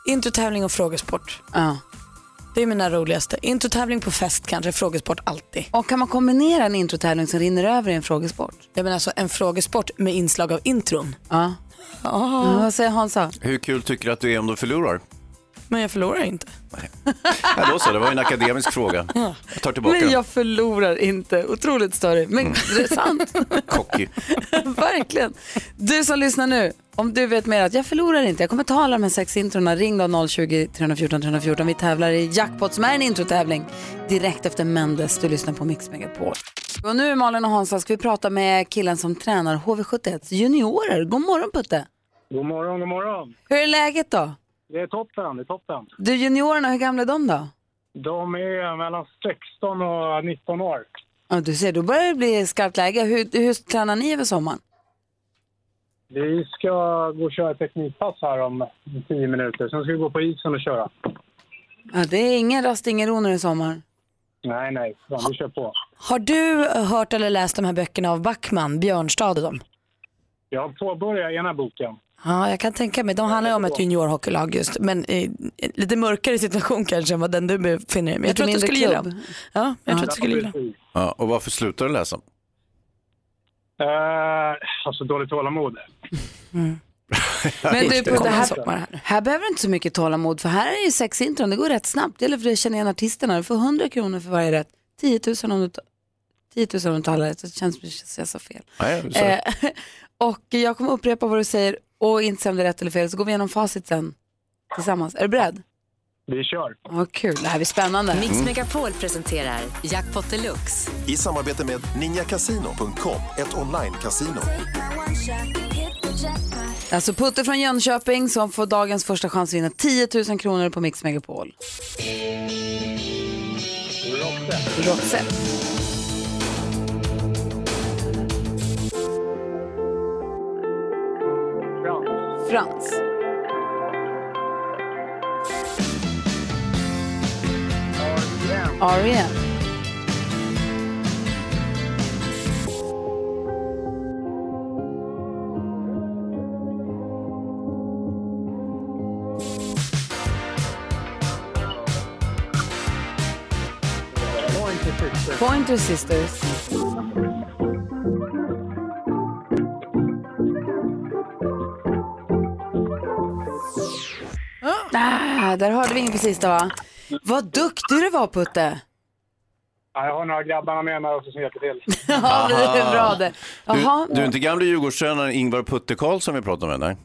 Speaker 2: Introtävling och frågesport. Det är mina roligaste. Introtävling på fest kanske, frågesport alltid.
Speaker 1: Och kan man kombinera en introtävling som rinner över i en frågesport?
Speaker 2: Jag menar alltså en frågesport med inslag av intron.
Speaker 1: Ja. Ja, Vad säger Hansa?
Speaker 3: Hur kul tycker du att du är om du förlorar?
Speaker 2: Men jag förlorar inte.
Speaker 3: Ja, då så, det var ju en akademisk fråga. Jag tar tillbaka
Speaker 1: Men
Speaker 3: den.
Speaker 1: jag förlorar inte. Otroligt större. Men det är sant.
Speaker 3: Cocky.
Speaker 1: Verkligen. Du som lyssnar nu, om du vet mer att jag förlorar inte, jag kommer ta alla de här sex introna, ring då 020-314 314. Vi tävlar i jackpot som är en introtävling direkt efter Mendes. Du lyssnar på Mix Megapol. Och nu Malin och Hansa ska vi prata med killen som tränar HV71 juniorer. God morgon Putte!
Speaker 9: God morgon, god morgon.
Speaker 1: Hur är läget då?
Speaker 9: Det är toppen, det är toppen.
Speaker 1: Du juniorerna, hur gamla är de då?
Speaker 9: De är mellan 16 och 19 år.
Speaker 1: Ja, du ser, då börjar det bli skarpt läge. Hur, hur tränar ni över sommaren?
Speaker 9: Vi ska gå och köra ett teknikpass här om 10 minuter. Sen ska vi gå på isen och köra.
Speaker 1: Ja, det är ingen rast, ingen ro när det är sommar.
Speaker 9: Nej, nej, fan, vi kör på.
Speaker 2: Har du hört eller läst de här böckerna av Backman, Björnstad och dem?
Speaker 9: Jag påbörjar ena boken.
Speaker 2: Ja, jag kan tänka mig. De handlar ju om ett juniorhockeylag just, men i, i, lite mörkare situation kanske än vad den du befinner dig i. Men jag
Speaker 1: Lite
Speaker 2: tror att du
Speaker 1: mindre
Speaker 2: skulle gilla
Speaker 1: klubb.
Speaker 2: dem. Ja, jag tror att du skulle gilla dem.
Speaker 3: Ja, och varför slutar du läsa?
Speaker 9: Eh, alltså dåligt tålamod.
Speaker 1: Men du,
Speaker 2: Det
Speaker 1: på det
Speaker 2: kommer
Speaker 1: här,
Speaker 2: sommar här.
Speaker 1: här behöver du inte så mycket tålamod för här är ju sex intron, det går rätt snabbt. Det gäller för dig att känna igen artisterna. Du får 100 kronor för varje rätt. 10 000 om du, ta- 10 000 om du talar rätt, så känns det som att jag sa fel.
Speaker 3: Nej, så-
Speaker 1: Eh, <laughs> och jag kommer upprepa vad du säger och inte säga om det är rätt eller fel så går vi igenom facit sen tillsammans. Är du beredd?
Speaker 9: Vi kör.
Speaker 1: Vad kul, det här blir spännande.
Speaker 10: Mix Megapol presenterar Jackpot Deluxe.
Speaker 11: I samarbete med ninjakasino.com, ett online-casino.
Speaker 1: Alltså Putte från Jönköping som får dagens första chans att vinna 10 000 kronor på Mix Megapol. Roxette. Frans. R.E.M. Pointer Sisters. Ah, där hörde vi inget på sista va? Vad duktig du var Putte! <laughs>
Speaker 9: Ja, jag har några grabbarna med mig också som hjälper till.
Speaker 1: Ja, det är bra det. Jaha,
Speaker 3: Ah. Du, du är inte gamle Djurgårdstränaren Ingvar Putte Karlsson vi pratar med? Nej.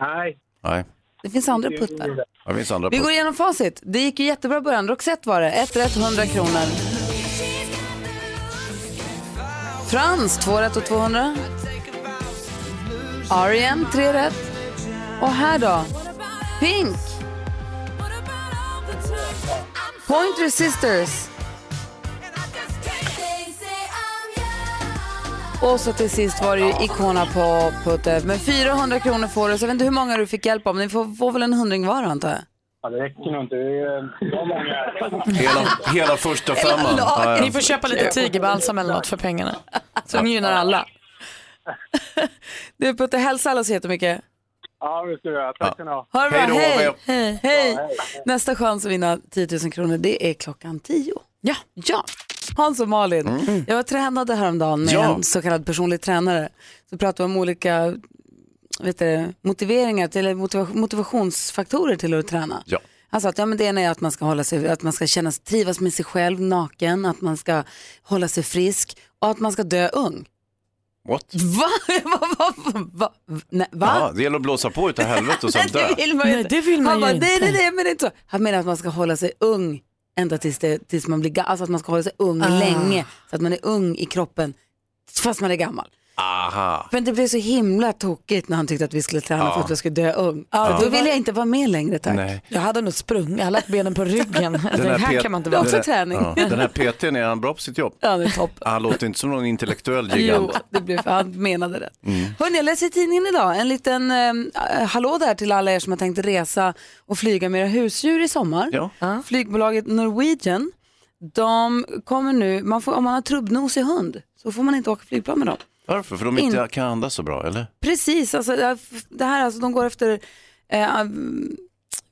Speaker 9: Nej,
Speaker 3: Nej.
Speaker 1: det finns andra puttar.
Speaker 3: Det finns andra
Speaker 1: Vi går
Speaker 3: Putte.
Speaker 1: igenom facit. Det gick ju jättebra i början. Roxette var det. Ett rätt, 100 kronor. Frans, två rätt och 200. Arien, tre rätt. Och här då? Pink. Pointer Sisters. Och så till sist var det ju Icona på Putte. Men 400 kronor får du. Så jag vet inte hur många du fick hjälp av. Men ni får, får väl en hundring var antar jag.
Speaker 9: ja, det räcker nog inte. Det är det var många. här.
Speaker 3: Hela, hela första femman. Ja, ja.
Speaker 2: Ni får köpa lite tigerbalsam eller något för pengarna. Som gynnar alla.
Speaker 1: Du Putte, hälsa alla så jättemycket.
Speaker 9: Ja, det ska jag göra. Tack ska ni ha.
Speaker 1: Ha det bra.
Speaker 3: Hej då,
Speaker 1: Hej.
Speaker 3: hej.
Speaker 1: Hej. Hej. Nästa chans att vinna 10 000 kronor, det är klockan 10. Ja. ja. Hans och Malin, jag var tränade häromdagen med
Speaker 3: Mm. Ja.
Speaker 1: en så kallad personlig tränare. Så pratade vi om olika vet du, motiveringar, till, eller motiva- motivationsfaktorer till att träna.
Speaker 3: Ja.
Speaker 1: Han sa att ja, men det ena är att man ska, hålla sig, att man ska känna, trivas med sig själv naken, att man ska hålla sig frisk och att man ska dö ung.
Speaker 3: What?
Speaker 1: Va? <laughs> va, va, va, va? Nej, va?
Speaker 3: Ja, det gäller att blåsa på utav helvete och sen dö.
Speaker 1: Det vill man ju
Speaker 2: Nej,
Speaker 1: inte.
Speaker 2: det vill man
Speaker 1: Han
Speaker 2: ju
Speaker 1: bara,
Speaker 2: inte.
Speaker 1: Nej, nej, nej, men det är inte så. Han menar att man ska hålla sig ung ända tills, det, tills man blir gammal. Alltså att man ska hålla sig ung länge. Så att man är ung i kroppen fast man är gammal.
Speaker 3: Aha.
Speaker 1: Men det blev så himla tokigt när han tyckte att vi skulle träna för att jag skulle dö ung. Då ville jag inte vara med längre tack.
Speaker 3: Nej.
Speaker 2: Jag hade nog sprungit, jag hade lagt benen
Speaker 3: <laughs>
Speaker 2: på ryggen. Det Alltså, här
Speaker 3: pet-
Speaker 2: kan man inte
Speaker 1: Det är
Speaker 2: vara.
Speaker 1: också
Speaker 3: den här-
Speaker 1: träning.
Speaker 3: Ja, den här PT'n, är han bra på sitt jobb?
Speaker 1: Ja, det är toppen.
Speaker 3: Han låter inte som någon intellektuell
Speaker 1: Jo,
Speaker 3: gigant.
Speaker 1: det blev, han menade det. Hörrni, jag läser i tidningen idag. En liten eh, hallå där till alla er som har tänkt resa och flyga med era husdjur i sommar.
Speaker 3: Ja.
Speaker 1: Flygbolaget Norwegian, de kommer nu, man får, om man har trubbnosig hund så får man inte åka flygplan med dem.
Speaker 3: Varför? För de inte kan andas så bra, eller?
Speaker 1: Precis, alltså, det här- det här alltså, de går efter eh,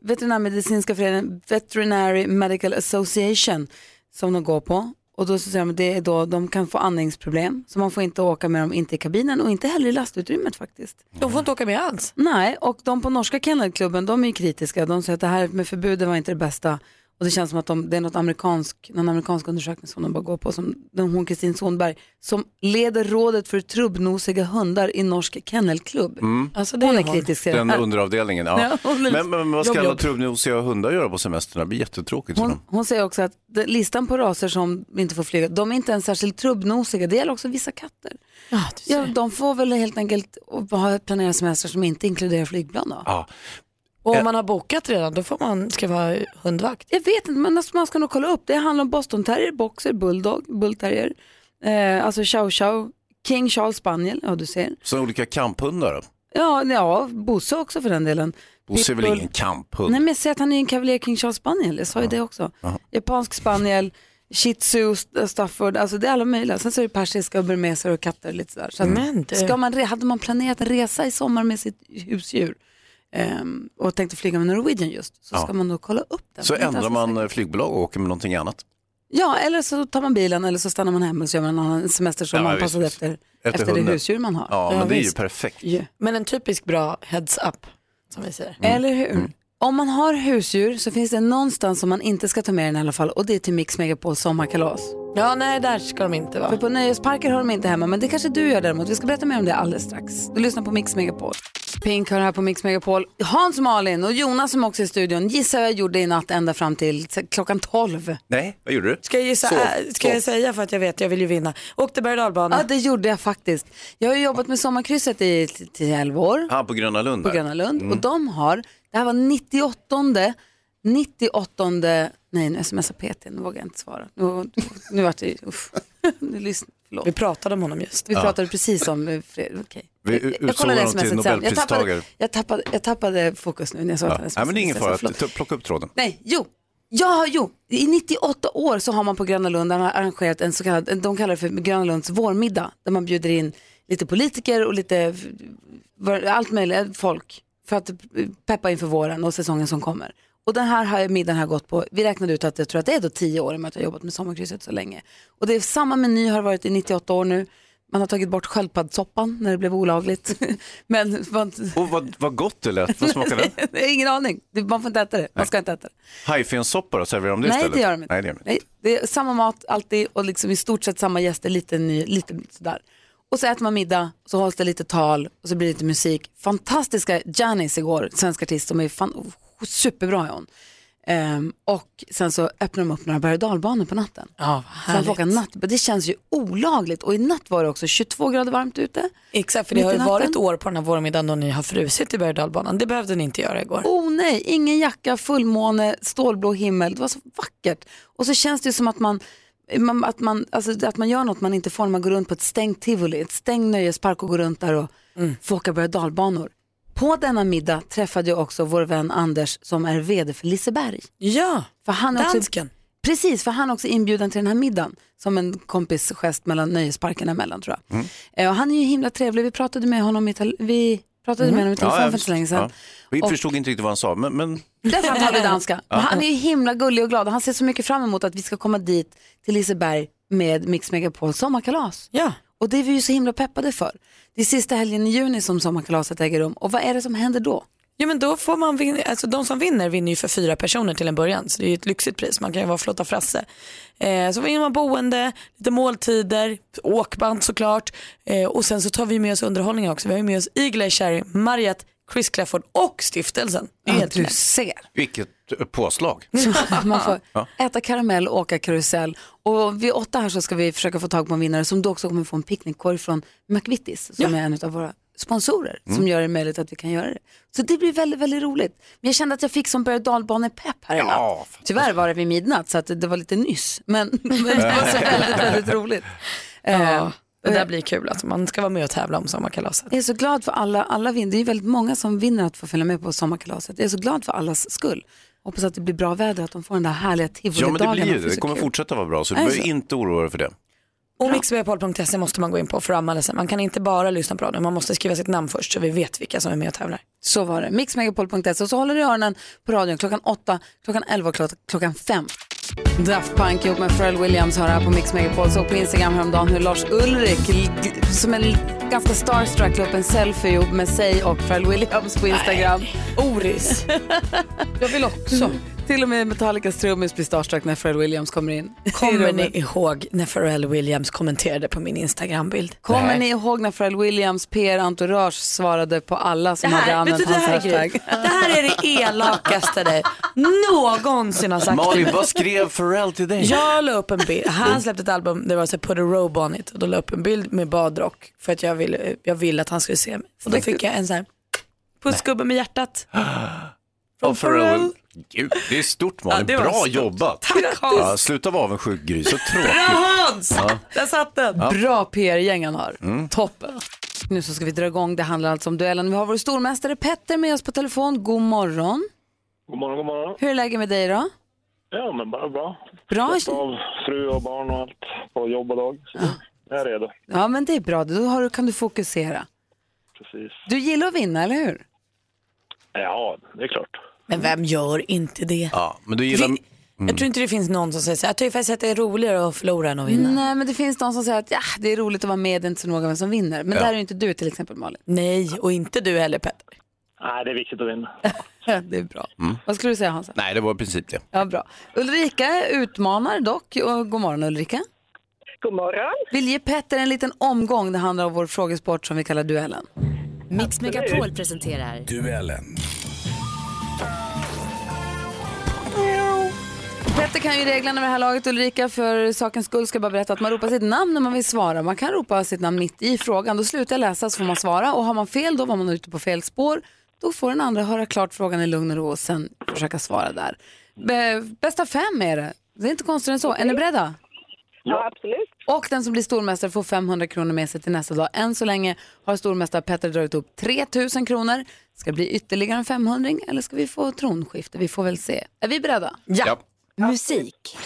Speaker 1: veterinärmedicinska föreningen, Veterinary Medical Association, som de går på. Och då så säger de att det är då de kan få andningsproblem, så man får inte åka med dem, inte i kabinen och inte heller i lastutrymmet faktiskt.
Speaker 2: De får inte åka med alls.
Speaker 1: Nej, och de på norska kennelklubben, de är ju kritiska. De säger att det här med förbuden var inte det bästa. Och det känns som att de, det är något amerikansk, någon amerikansk undersökning som de bara går på. Som den, hon Kristin Sonberg, som leder rådet för trubbnosiga hundar i norsk kennelklubb.
Speaker 2: Alltså, det
Speaker 1: Hon är
Speaker 2: hon.
Speaker 1: kritisk till det
Speaker 3: Den
Speaker 1: här.
Speaker 3: underavdelningen,
Speaker 1: <laughs> Ja,
Speaker 3: ja.
Speaker 1: hon är-
Speaker 3: Men, men vad
Speaker 1: jobb,
Speaker 3: ska alla
Speaker 1: jobb.
Speaker 3: trubbnosiga hundar göra på semestern? Det blir jättetråkigt för
Speaker 1: Hon,
Speaker 3: dem.
Speaker 1: hon säger också att de- listan på raser som inte får flyga, de är inte ens särskilt trubbnosiga. Det gäller också vissa katter.
Speaker 2: Ja, du ser.
Speaker 1: Ja, de får väl helt enkelt ha- planera semester som inte inkluderar flygplan då.
Speaker 3: Ja.
Speaker 2: Och om man har bokat redan, då får man, ska vara hundvakt.
Speaker 1: Jag vet inte, men alltså, man ska nog kolla upp. Det handlar om bostonterrier, boxer, bulldog, bullterrier, eh, alltså chow chow, king charles spaniel, ja du ser.
Speaker 3: Så olika kamphundar då?
Speaker 1: Ja, ja Bosse också för den delen.
Speaker 3: Bosse är väl
Speaker 1: Pitbull.
Speaker 3: ingen kamphund?
Speaker 1: Nej men jag säger att han är en cavalier king charles spaniel, jag sa ju det också. Japansk spaniel, shih tzu, st- stafford, alltså det är alla möjliga. Sen så är det persiska och burmeser och katter och lite sådär. Så att,
Speaker 2: Men
Speaker 3: Mm.
Speaker 2: du.
Speaker 1: ska man, re- hade man planerat en resa i sommar med sitt husdjur ehm, och tänkte flyga med Norwegian just, så
Speaker 3: Ja.
Speaker 1: ska man då kolla upp den.
Speaker 3: Så
Speaker 1: Det är inte
Speaker 3: ändrar
Speaker 1: alls
Speaker 3: man eh, flygbolag och åker med någonting annat.
Speaker 1: Ja, eller så tar man bilen eller så stannar man hemma och så gör man en annan semester som
Speaker 3: Ja,
Speaker 1: anpassad
Speaker 3: visst,
Speaker 1: efter,
Speaker 3: visst.
Speaker 1: efter,
Speaker 3: Efter
Speaker 1: det
Speaker 3: hunden.
Speaker 1: husdjur man har.
Speaker 3: Ja, Mm. men det är ju
Speaker 1: visst.
Speaker 3: perfekt.
Speaker 1: Ja.
Speaker 2: Men en typisk bra heads up som vi säger.
Speaker 1: Eller hur?
Speaker 3: Mm.
Speaker 1: Om man har husdjur så finns det någonstans som man inte ska ta med den i alla fall och det är till Mix Megapol sommarkalas.
Speaker 2: Ja, nej, där ska de inte vara.
Speaker 1: För på nöjesparker har de inte hemma, men det kanske du gör däremot. Vi ska berätta mer om det alldeles strax. Du lyssnar på Mix Megapol. Pink hör här på Mix Megapol. Hans Malin och Jonas som också är i studion gissar jag gjorde i natt ända fram till klockan 12.
Speaker 3: Nej, vad gjorde du?
Speaker 2: Ska jag gissa? äh, ska jag säga för att jag vet, jag vill ju vinna. Åkte berg och dalbana.
Speaker 1: Ja, det gjorde jag faktiskt. Jag har ju jobbat med Sommarkrysset i t- till 11 år.
Speaker 3: Ja, på Gröna Lund.
Speaker 1: på
Speaker 3: där.
Speaker 1: Gröna Lund
Speaker 3: Mm.
Speaker 1: och de har, det här var 98 98 nej nu smsar PT, nu vågar jag inte svara. Nu, nu vart det, uff, <laughs> nu lyssn, förlåt.
Speaker 2: Vi pratade om honom just.
Speaker 1: Vi
Speaker 3: Ja.
Speaker 1: pratade precis om eh, Fredrik, okej.
Speaker 3: Vi u-
Speaker 1: Jag
Speaker 3: utsåg
Speaker 1: kollade
Speaker 3: honom till
Speaker 1: smset sen. Jag tappade,
Speaker 3: Nobelpristagare.
Speaker 1: jag, tappade, jag tappade fokus nu när jag såg att
Speaker 3: Ja.
Speaker 1: han smsade.
Speaker 3: Nej, men det är ingen
Speaker 1: Så jag
Speaker 3: fara,
Speaker 1: sa, förlåt.
Speaker 3: T- plocka upp tråden.
Speaker 1: Nej, jo. Ja, jo. I 98 år så har man på Gröna Lund man har arrangerat en så kallad, de kallar det för Gröna Lunds vårmiddag, där man bjuder in lite politiker och lite f- var- allt möjligt eh, folk för att eh, peppa inför våren och säsongen som kommer. Och den här har- middagen har gått på, vi räknade ut att jag tror att det är då 10 år i och med att jag har jobbat med sommarkrysset så länge. Och det är samma meny har det varit i 98 år nu. Man har tagit bort sköldpaddsoppan när det blev olagligt. <laughs> Men man,
Speaker 3: Och vad, vad gott det lät, vad
Speaker 1: <laughs>
Speaker 3: smakade den?
Speaker 1: ingen aning, Det- man får inte äta det, man ska inte äta det.
Speaker 3: Hajfenssoppa då, serverar de det
Speaker 1: Nej,
Speaker 3: istället?
Speaker 1: det gör de inte.
Speaker 3: Nej, det gör de inte.
Speaker 1: Nej, det är samma mat alltid och liksom i stort sett samma gäster, lite, ny, lite sådär. Och så äter man middag, så hålls det lite tal och så blir det lite musik. Fantastiska Janis igår, svensk artist, som är fan, superbra är hon. Ehm, och sen så öppnar de upp några berg och dalbanor på natten.
Speaker 2: Ja,
Speaker 1: Så man får åka natt, men det känns ju olagligt. Och i natt var det också 22 grader varmt ute.
Speaker 2: Exakt, för det
Speaker 1: Mitt
Speaker 2: har
Speaker 1: i
Speaker 2: ju
Speaker 1: natten.
Speaker 2: varit år på den här vårmiddagen då ni har frusit i berg och dalbanan. Det behövde ni inte göra igår.
Speaker 1: Oh nej, ingen jacka, fullmåne, stålblå himmel. Det var så vackert. Och så känns det ju som att man, man, att man, alltså, att man gör något man inte får när man går runt på ett stängt tivoli, ett stängt nöjespark och går runt där och
Speaker 3: Mm.
Speaker 1: får åka berg och dalbanor. På denna middag träffade jag också vår vän Anders som är vd för Liseberg.
Speaker 2: Ja,
Speaker 1: För han är
Speaker 2: Dansken.
Speaker 1: Också, precis, för han är också inbjuden till den här middagen som en kompisgest mellan nöjesparkerna emellan tror jag.
Speaker 3: Mm.
Speaker 1: Eh, Och han är ju himla trevlig, vi pratade med honom i, tel- vi pratade med honom i telefon för inte så länge sedan.
Speaker 3: Mm. Ja. Vi
Speaker 1: Och-
Speaker 3: förstod inte riktigt vad han sa, men, men
Speaker 1: Därför han talar danska.
Speaker 3: Ja.
Speaker 1: Men Han är ju himla gullig och glad och han ser så mycket fram emot att vi ska komma dit till Liseberg med Mix Megapol sommarkalas.
Speaker 2: Ja.
Speaker 1: Och det är vi ju så himla peppade för. Det är sista helgen i juni som sommarkalaset äger rum och vad är det som händer då?
Speaker 2: Ja men då får man vinna, alltså de som vinner vinner ju för fyra personer till en början så det är ju ett lyxigt pris, man kan ju vara flotta Frasse. Eh, så vinner man boende, lite måltider, åkband såklart eh, och sen så tar vi med oss underhållningar också. Vi har ju med oss Eagle-Eye Cherry, Mariette, Chris Clafford och stiftelsen. Det är helt
Speaker 1: du
Speaker 2: knäppt.
Speaker 1: ser.
Speaker 3: vilket eh, påslag.
Speaker 1: Man får
Speaker 3: Ja.
Speaker 1: äta karamell och åka karusell. Och vid åtta här så ska vi försöka få tag på en vinnare som då också kommer få en picknickkorg från McVittys som är en av våra sponsorer som
Speaker 3: Mm.
Speaker 1: gör det möjligt att vi kan göra det. Så det blir väldigt, väldigt roligt. Men jag kände att jag fick som berg och dalbanepepp här i
Speaker 3: Ja,
Speaker 1: natt. Tyvärr var det vid midnatt så att det var lite nyss. Men, <laughs> men det var så väldigt, väldigt roligt. Eh,
Speaker 2: Ja, det där blir kul, alltså, man ska vara med och tävla om sommarkalaset.
Speaker 1: jag är så glad för alla, alla vinner. Det är ju väldigt många som vinner att få följa med på sommarkalaset. Jag är så glad för allas skull. Hoppas att det blir bra väder, att de får den där härliga
Speaker 3: Ja,
Speaker 1: tivolidagen.
Speaker 3: men det blir ju
Speaker 1: att
Speaker 3: det. Det
Speaker 1: så
Speaker 3: kommer
Speaker 1: kul.
Speaker 3: fortsätta vara bra, så
Speaker 1: Är
Speaker 3: du
Speaker 1: det
Speaker 3: behöver
Speaker 1: så?
Speaker 3: inte oroa dig för det.
Speaker 2: Och mixmegapol.se måste man gå in på för att anmäla sig. Man kan inte bara lyssna på radion, man måste skriva sitt namn först så vi vet vilka som är med och tävlar.
Speaker 1: Så var det. Mixmegapol.se och så håller du i öronen på radion klockan 8, klockan 11 och klo- klockan 5. Daft Punk ihop med Pharrell Williams har det här på Mix Megapol. Såg på Instagram häromdagen hur Lars Ulrik, l- g- som är l- ganska starstruck, la upp en selfie ihop med sig och Pharrell Williams på Instagram. Mm.
Speaker 2: Oris. Jag vill också.
Speaker 1: Till och med Metallicas trummis blir starstruck när Pharrell Williams kommer in.
Speaker 2: <laughs> Kommer <laughs> ni ihåg när Pharrell Williams kommenterade på min Instagrambild?
Speaker 1: Kommer ni ihåg när Pharrell Williams PR-entourage svarade på alla som hade använt hans hashtag?
Speaker 2: det här är det elakaste dig någonsin har sagt till
Speaker 3: Malin,
Speaker 2: mig.
Speaker 3: vad skrev Pharrell till dig?
Speaker 2: Jag la upp en <laughs> bild, han släppte ett album där det var så här, put a robe on it och då la jag upp en bild med badrock för att jag ville, jag ville att han skulle se mig. Och då fick jag en så här pussgubbe med hjärtat.
Speaker 3: Av
Speaker 2: Pharrell.
Speaker 3: Gud, det är stort Malin,
Speaker 2: Ja, det var
Speaker 3: bra
Speaker 2: stort.
Speaker 3: jobbat.
Speaker 2: Tack
Speaker 3: Ja,
Speaker 2: Hans!
Speaker 3: sluta vara avundsjuk Gry, så tråkigt.
Speaker 2: Hans! Där satt den.
Speaker 1: Bra PR-gäng han har. Toppen. Nu så ska vi dra igång. Det handlar alltså om duellen. Vi har vår stormästare Petter med oss på telefon. God morgon.
Speaker 9: God morgon, god morgon.
Speaker 1: Hur är läget med dig då?
Speaker 12: Ja, men bara bra.
Speaker 1: Bra.
Speaker 12: Släppt av fru och barn och allt på jobb och dag. Så jag är redo.
Speaker 1: Ja, men det är bra. Då har du, kan du fokusera.
Speaker 12: Precis.
Speaker 1: Du gillar att vinna, eller hur?
Speaker 12: Ja, det är klart.
Speaker 2: Men vem gör inte det?
Speaker 3: Ja, men du gillar...
Speaker 2: Vi- Jag tror inte det finns någon som säger så här, jag tycker faktiskt att det är roligare att förlora än att vinna.
Speaker 1: Nej, men det finns de som säger att ja, det är roligt att vara med, det är inte så noga vem som vinner. Men
Speaker 2: Ja.
Speaker 1: där är ju inte du till exempel, Malin. <laughs>
Speaker 2: Nej, och inte du heller, Petter.
Speaker 12: Nej, det är viktigt att vinna.
Speaker 1: det är bra. Vad skulle du säga, Hansa?
Speaker 3: Nej, det var i princip det.
Speaker 1: Ja, bra. Ulrika utmanar dock. Och god morgon Ulrika.
Speaker 13: God morgon.
Speaker 1: Vill ge Petter en liten omgång. Det handlar om vår frågesport som vi kallar duellen.
Speaker 10: Mix Megapol presenterar
Speaker 14: Duellen.
Speaker 1: Petter kan ju reglerna med det här laget. Ulrika, för sakens skull ska jag bara berätta att man ropar sitt namn när man vill svara. Man kan ropa sitt namn mitt i frågan. Då slutar jag läsa så får man svara. Och har man fel, då var man ute på fel spår. Då får den andra höra klart frågan i lugn och ro och sen försöka svara där. Bä- Bästa fem är det. Det är inte konstigt än så. Är ni beredda?
Speaker 13: Ja, absolut.
Speaker 1: Och den som blir stormästare får 500 kronor med sig till nästa dag. Än så länge har stormästare Petter dragit upp 3000 kronor. Ska det bli ytterligare en 500 eller ska vi få tronskifte? Vi får väl se. Är vi beredda?
Speaker 3: Ja.
Speaker 1: Musik.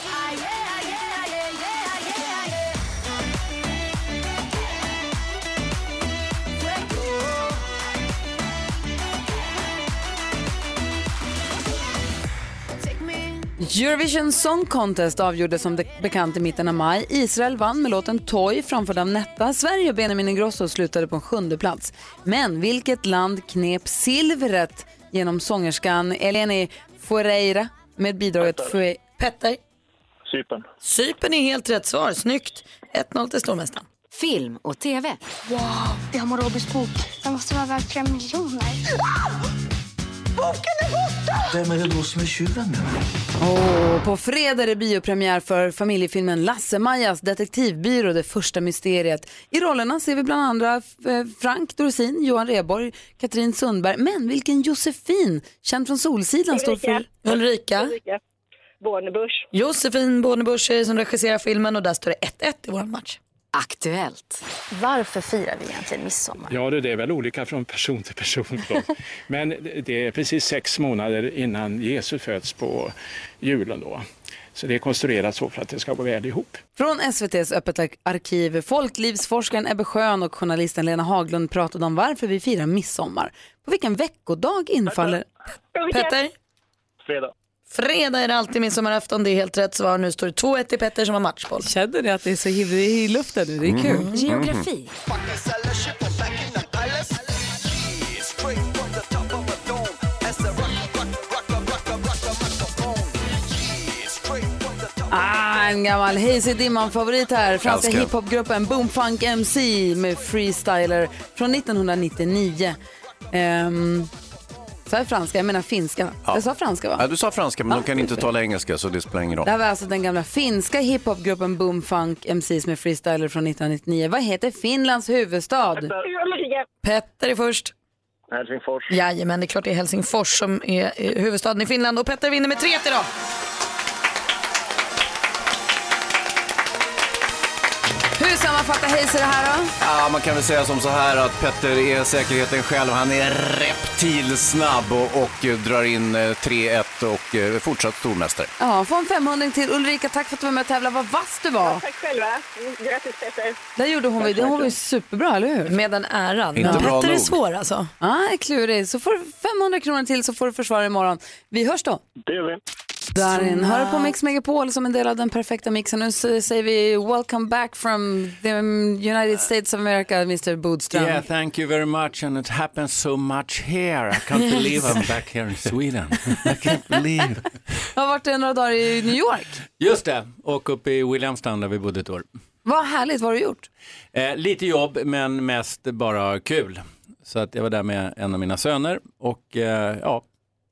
Speaker 1: Eurovision Song Contest avgjordes som det- bekant i mitten av maj. Israel vann med låten Toy framförd av Netta. Sverige och Benjamin Ingrosso slutade på en sjunde plats. Men vilket land knep silvret genom sångerskan Eleni Foureira med bidraget Fue- Petter?
Speaker 12: Cypern.
Speaker 2: Cypern är helt rätt svar, snyggt. 1-0 till stormästaren.
Speaker 10: film och tv.
Speaker 15: Wow, det har Robins bok. Den måste vara värd flera miljoner. Boken är borta!
Speaker 16: Vem är det då som är tjuven nu?
Speaker 1: Och på fredag är det biopremiär för familjefilmen Lasse-Majas detektivbyrå, det första mysteriet. I rollerna ser vi bland andra eh, Frank Dorsin, Johan Rheborg, Katrin Sundberg. Men vilken Josefin, känd från Solsidan, står för...
Speaker 2: Ulrika.
Speaker 13: Bornebusch.
Speaker 2: Josefin Bornebusch är det som regisserar filmen och där står det 1-1 i vår match.
Speaker 10: Aktuellt.
Speaker 15: Varför firar vi egentligen midsommar?
Speaker 17: Ja, du, det är väl olika från person till person. Då. Men det är precis sex månader innan Jesus föds på julen. Då. Så det är konstruerat så för att det ska gå väl ihop.
Speaker 1: Från SVTs Öppet ar- arkiv, folklivsforskaren Ebbe Schön och journalisten Lena Haglund pratade om varför vi firar midsommar. På vilken veckodag infaller...
Speaker 2: Petter?
Speaker 12: Fredag.
Speaker 2: Fredag är det alltid midsommarafton, det är helt rätt svar. Nu står det 2-1 till Petter som har matchboll.
Speaker 1: Känner ni att det är så himla i luften nu? Det
Speaker 2: är kul.
Speaker 1: Mhm.
Speaker 2: Geografi.
Speaker 1: Ah, en gammal Hayes i dimman-favorit här. Franska
Speaker 17: Älskar.
Speaker 1: hiphopgruppen Boomfunk MC med Freestyler från 1999. Um, sa jag franska? Jag menar finska. Jag sa franska va?
Speaker 3: Ja, du sa franska, men de kan inte tala engelska, så det spelar ingen roll.
Speaker 1: Det här var alltså den gamla finska hiphopgruppen Boomfunk MCs med Freestyler från 1999. Vad heter Finlands huvudstad?
Speaker 2: Petter är först.
Speaker 12: Helsingfors.
Speaker 2: Jajamän, det är klart det är Helsingfors som är eh, huvudstaden i Finland och Petter vinner med 3-1 idag.
Speaker 1: Hur sammanfattar Hayes det här då?
Speaker 3: Ja, man kan väl säga som så här att Petter är säkerheten själv. Han är reptilsnabb och, och eh, drar in eh, 3-1 och eh, fortsatt stormästare.
Speaker 1: Ja, få en 500 till. Ulrika, tack för att du var med och tävlade. Vad vass du var.
Speaker 13: Tack själva. Grattis Petter.
Speaker 1: Där gjorde hon, det hon var ju superbra, eller hur?
Speaker 2: Med den äran.
Speaker 1: Inte Ja. bra
Speaker 2: Petter är
Speaker 1: nog.
Speaker 2: svår alltså.
Speaker 1: Ja, ah, klurig. Så får du 500 kronor till så får du försvara imorgon. Vi hörs då.
Speaker 12: Det gör vi.
Speaker 1: Darin, hör på Mix Megapol som en del av den perfekta mixen. Nu s- säger vi welcome back from the United States of America, Mr Bodström.
Speaker 18: Yeah, thank you very much, and it happens so much here. I can't
Speaker 1: Yes.
Speaker 18: believe I'm back here in Sweden. I can't believe.
Speaker 1: Jag har varit där några dagar i New York.
Speaker 18: Just det, och uppe i Williamstown där vi bodde ett år.
Speaker 1: Vad härligt, vad har du gjort?
Speaker 18: Eh, lite jobb, men mest bara kul. Så att jag var där med en av mina söner och eh, ja,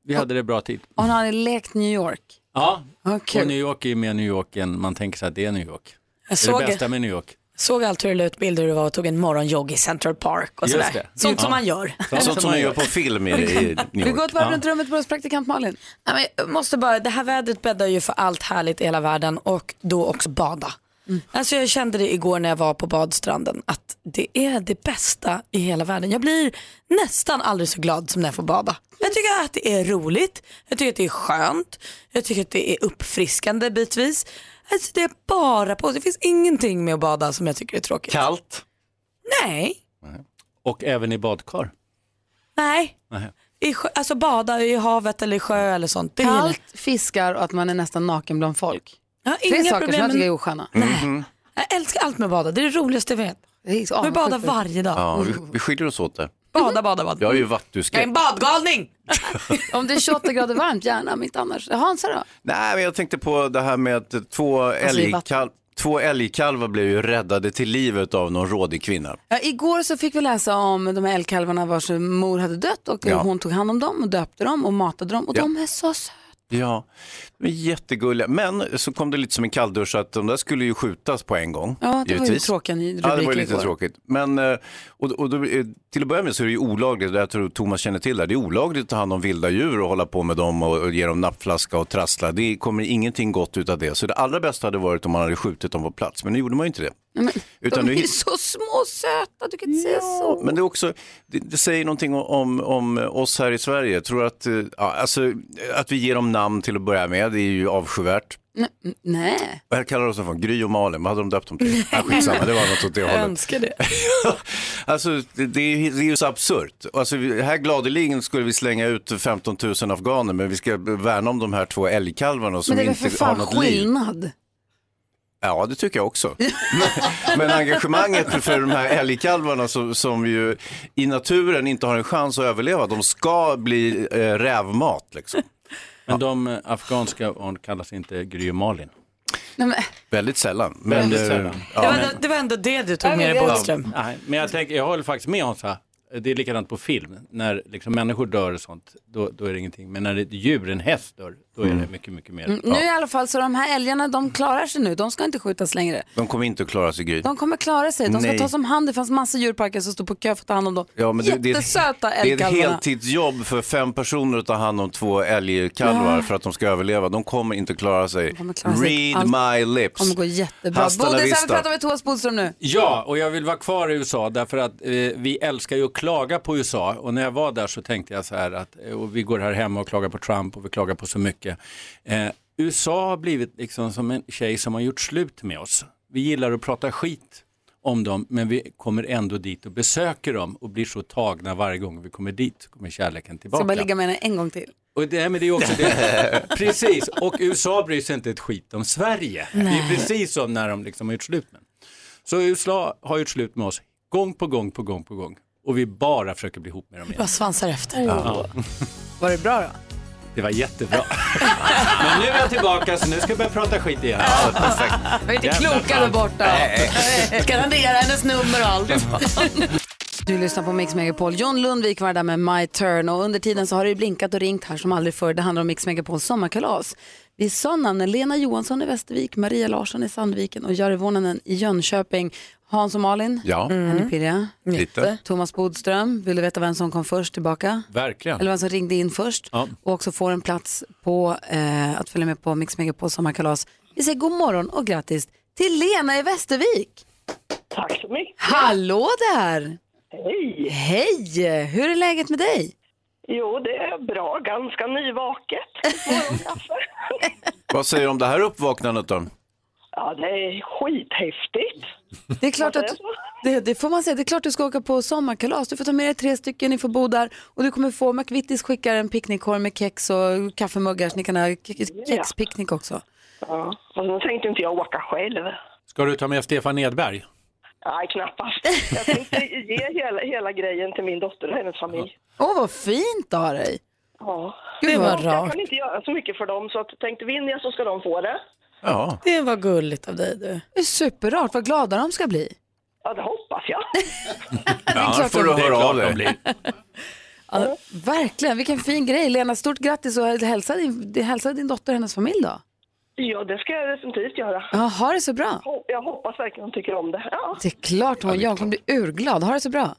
Speaker 18: vi hade det bra tid.
Speaker 1: Och han har lekt New York.
Speaker 18: Ja,
Speaker 1: kul.
Speaker 18: och New York är ju mer New York än man tänker sig att det är New York.
Speaker 2: Jag
Speaker 18: det är
Speaker 2: såg-
Speaker 18: det bästa med New York.
Speaker 2: Såg allt hur du la ut bilder hur du var och tog en morgonjogg i Central Park och
Speaker 18: Just
Speaker 2: sådär.
Speaker 18: det.
Speaker 2: Sånt som
Speaker 18: Ja.
Speaker 2: man gör.
Speaker 3: Sånt som man gör på film i, i New
Speaker 1: Vi
Speaker 3: York.
Speaker 1: går ett varv runt rummet på oss praktikant Malin.
Speaker 2: Nej, men jag måste bara, det här vädret bäddar ju för allt härligt i hela världen och då också bada. Alltså jag kände det igår när jag var på badstranden att det är det bästa i hela världen. Jag blir nästan aldrig så glad som när jag får bada. Jag tycker jag att det är roligt, jag tycker att det är skönt, jag tycker att det är uppfriskande bitvis. Alltså det är bara på. Det finns ingenting med att bada som jag tycker är tråkigt.
Speaker 18: Kallt
Speaker 2: Nej,
Speaker 18: och även i badkar.
Speaker 2: nej.
Speaker 18: Nej.
Speaker 2: I sjö, alltså bada i havet eller i sjö eller sånt. Det gillar jag.
Speaker 1: Kallt, fiskar och att man är nästan naken bland folk.
Speaker 2: Ja,
Speaker 1: Tre
Speaker 2: inga
Speaker 1: saker
Speaker 2: problem
Speaker 1: som jag
Speaker 2: med-
Speaker 1: tycker är osköna.
Speaker 18: Mm.
Speaker 2: Jag älskar allt med att bada, det är det roligaste jag vet. Vi badar varje dag.
Speaker 3: Ja, vi, vi skiljer oss åt det.
Speaker 2: Mm. Bada, bada, bada.
Speaker 3: Jag är ju vattuskräck.
Speaker 2: badgalning!
Speaker 1: Om det är 28 grader varmt, gärna, men inte annars. Hansa då?
Speaker 3: Nej, men jag tänkte på det här med att två,
Speaker 1: Alltså,
Speaker 3: älgkalv, två älgkalvar blev ju räddade till livet av någon rådig kvinna.
Speaker 1: Ja, igår så fick vi läsa om de här älgkalvarna vars mor hade dött och
Speaker 3: Ja.
Speaker 1: hon tog hand om dem och döpte dem och matade dem och
Speaker 3: Ja.
Speaker 1: de är så söta.
Speaker 3: Ja, de är jättegulliga. Men så kom det lite som en kalldusch att de där skulle ju skjutas på en gång.
Speaker 1: Ja, det var ju
Speaker 3: givetvis.
Speaker 1: tråkiga ny-
Speaker 3: Ja, det var
Speaker 1: rubriker
Speaker 3: ju lite
Speaker 1: igår.
Speaker 3: tråkigt. Men, eh, och, och då, eh, till att börja med så är det ju olagligt, jag tror Thomas känner till det, här, det är olagligt att ta hand om vilda djur och hålla på med dem och, och ge dem nappflaska och trassla. Det kommer ingenting gott utav det. Så det allra bästa hade varit om man hade skjutit dem på plats, men nu gjorde man ju inte det. Utan
Speaker 1: de
Speaker 3: nu
Speaker 1: är
Speaker 3: hitt-
Speaker 1: så små och söta, du kan inte säga så.
Speaker 3: men det, är också, det, det säger någonting om, om, om eh, oss här i Sverige. Jag tror att, eh, ja, alltså, att vi ger dem namn till att börja med, det är ju avskyvärt.
Speaker 1: N- Nej.
Speaker 3: Vad kallar de sig för? Gry och Malin, vad hade de döpt dem till? Ah, skitsamma, det var något åt det hållet.
Speaker 2: det.
Speaker 3: Alltså, det, det är ju- det är ju så absurt. Alltså, vi- här gladeligen skulle vi slänga ut 15 000 afghaner, men vi ska värna om de här två älgkalvarna som
Speaker 1: men det är väl för
Speaker 3: inte har
Speaker 1: fan
Speaker 3: något liv.
Speaker 1: skillnad?
Speaker 3: Ja, det tycker jag
Speaker 1: <laughs>
Speaker 3: också. Men- Men engagemanget för de här älgkalvarna som, som ju i naturen inte har en chans att överleva, de ska bli eh, rävmat. Liksom.
Speaker 18: Men de eh, afghanska barn kallas inte Gry och Malin.
Speaker 1: Nej, men,
Speaker 3: Väldigt sällan. Men,
Speaker 18: Väldigt
Speaker 3: eh,
Speaker 18: sällan.
Speaker 3: Ja,
Speaker 2: det, var,
Speaker 3: men-
Speaker 2: det var ändå det du
Speaker 1: Ja,
Speaker 2: tog med dig
Speaker 1: men det-
Speaker 2: Bodström.
Speaker 18: Nej, men jag, tänker, jag håller faktiskt med Hansa. Det är likadant på film. När liksom människor dör och sånt, då, då är det ingenting. Men när ett djur, en häst, dör, då är det mycket, mycket mer.
Speaker 1: Mm, Nu i alla fall så de här älgarna, de klarar sig nu. De ska inte skjutas längre.
Speaker 3: De kommer inte att klara sig, Gry.
Speaker 1: De kommer klara sig. De ska
Speaker 3: Nej.
Speaker 1: tas om hand. Det fanns massa djurparker som stod på kö för att ta hand om dem.
Speaker 3: Ja, men det, det,
Speaker 1: Jättesöta
Speaker 3: det är ett
Speaker 1: älgkalvarna.
Speaker 3: heltidsjobb för fem personer att ta hand om två älgkalvar
Speaker 1: Ja.
Speaker 3: för att de ska överleva. De kommer inte klara sig.
Speaker 1: klara sig.
Speaker 3: Read
Speaker 1: Allt
Speaker 3: my lips.
Speaker 1: kommer gå jättebra.
Speaker 3: Hasta la
Speaker 1: Bodis, här
Speaker 3: vista.
Speaker 1: pratar vi Thomas Bodström nu.
Speaker 18: Ja, och jag vill vara kvar i USA därför att eh, vi älskar ju att klaga på USA och när jag var där så tänkte jag så här att eh, och vi går
Speaker 8: <laughs>
Speaker 18: här hemma och klagar på Trump och vi klagar på så mycket. Eh, USA har blivit liksom som en tjej som har gjort slut med oss. Vi gillar att prata skit om dem men vi kommer ändå dit och besöker dem och blir så tagna varje gång vi kommer dit så kommer kärleken
Speaker 1: Ska bara
Speaker 18: tillbaka.
Speaker 1: ligga med henne en gång till.
Speaker 18: Och det, men det är också det. Precis, och USA bryr sig inte ett skit om Sverige. Det är
Speaker 1: Nej.
Speaker 18: precis som när de liksom har gjort slut med Så USA har gjort slut med oss gång på gång på gång på gång. Och vi bara försöker bli ihop med dem igen.
Speaker 2: Bara svansar efter.
Speaker 18: Ja.
Speaker 1: Var det bra då?
Speaker 18: Det
Speaker 8: <laughs>
Speaker 18: var jättebra. Men nu är jag tillbaka så nu ska jag börja prata skit igen. Ja, perfekt.
Speaker 1: Vi är inte
Speaker 18: Jävla
Speaker 1: kloka där
Speaker 18: fan.
Speaker 1: borta.
Speaker 18: Nej.
Speaker 2: Ska radera hennes nummer och allt.
Speaker 1: <laughs> Du lyssnar på Mix Megapol. John Lundvik var där med My Turn och under tiden så har det ju blinkat och ringt här som aldrig förr. Det handlar om Mix Megapols sommarkalas. Vi sa namnen Lena Johansson i Västervik, Maria Larsson i Sandviken och Jari Vonanen i Jönköping. Hans och Malin,
Speaker 3: Ja.
Speaker 1: är
Speaker 18: Mm.
Speaker 1: ni pirriga?
Speaker 2: Mm.
Speaker 3: Lite.
Speaker 1: Thomas Bodström, vill du veta vem som kom först tillbaka?
Speaker 18: Verkligen.
Speaker 1: Eller vem som ringde in först
Speaker 18: Ja.
Speaker 1: och också får en plats på eh, att följa med på Mix Megapols sommarkalas. Vi säger god morgon och grattis till Lena i Västervik.
Speaker 13: Tack så mycket.
Speaker 1: Hallå där!
Speaker 13: Hej!
Speaker 1: Hej! Hur är läget med dig?
Speaker 13: Jo, det är bra. Ganska nyvaket.
Speaker 3: Vad säger du om det här uppvaknandet då?
Speaker 13: Ja, det är skithäftigt.
Speaker 1: Det är klart att det, det får man säga. Det är klart du ska åka på sommarkalas. Du får ta med dig tre stycken, ni får bo där och du kommer få McVittys skickar en picknickkorg med kex och kaffemuggar så ni kan ha ke- ke- kexpicknick också.
Speaker 13: Ja, och sen tänkte inte jag åka själv.
Speaker 18: Ska du ta med Stefan Edberg?
Speaker 13: Nej, knappast. Jag tänkte ge hela, hela grejen till min dotter och hennes familj.
Speaker 1: Åh, vad fint av dig!
Speaker 13: Ja.
Speaker 1: Gud, vad
Speaker 13: Jag
Speaker 1: rart.
Speaker 13: kan inte göra så mycket för dem, så att, tänkte vinner jag så ska de få det.
Speaker 3: Ja.
Speaker 2: Det var gulligt av dig du.
Speaker 1: Det är superrart. Vad glada de ska bli.
Speaker 13: Ja, det hoppas
Speaker 1: <laughs>
Speaker 13: jag.
Speaker 3: Ja,
Speaker 1: klart
Speaker 3: får du
Speaker 1: de- Det är
Speaker 3: höra
Speaker 1: klart
Speaker 3: av
Speaker 1: de
Speaker 3: dig.
Speaker 1: Ja, verkligen, vilken fin grej. Lena, stort grattis och hälsa din, hälsa din dotter och hennes familj då.
Speaker 13: Ja, det ska jag definitivt göra.
Speaker 1: Ja, ha det så bra.
Speaker 13: Ho- Jag hoppas verkligen de tycker om det. Ja,
Speaker 1: Det är klart hon Jag kommer bli urglad. Ha det så bra.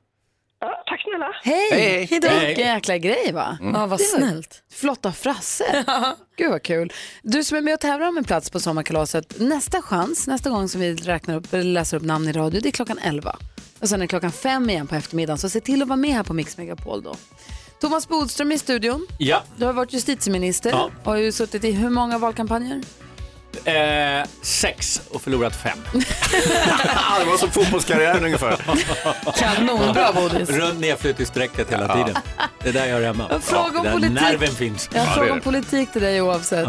Speaker 13: ja tack snälla.
Speaker 1: Hej!
Speaker 13: Hej, hej. Hej.
Speaker 1: Vilken jäkla grej va?
Speaker 2: Mm. Ja, vad
Speaker 1: Det var
Speaker 2: snällt.
Speaker 1: Flott av <laughs> Frasse. Gud vad kul. Du som är med och tävlar om en plats på sommarkalaset. Nästa chans, nästa gång som vi räknar upp, eller läser upp namn i radio, det är klockan 11. Och sen är det klockan 5 igen på eftermiddagen. Så se till att vara med här på Mix Megapol då. Thomas Bodström i studion.
Speaker 18: Ja.
Speaker 1: Du har varit justitieminister
Speaker 18: Ja.
Speaker 1: och har ju suttit i hur många valkampanjer?
Speaker 18: Eh, sex och förlorat fem.
Speaker 3: det var som fotbollskarriären ungefär.
Speaker 1: Kanonbra, Bodis.
Speaker 18: Runt nedflytt i sträcket hela tiden. Det där gör jag hemma.
Speaker 1: Fråga om
Speaker 18: Ja, där
Speaker 1: politik.
Speaker 18: nerven finns.
Speaker 1: Jag har frågat om politik till dig oavsett.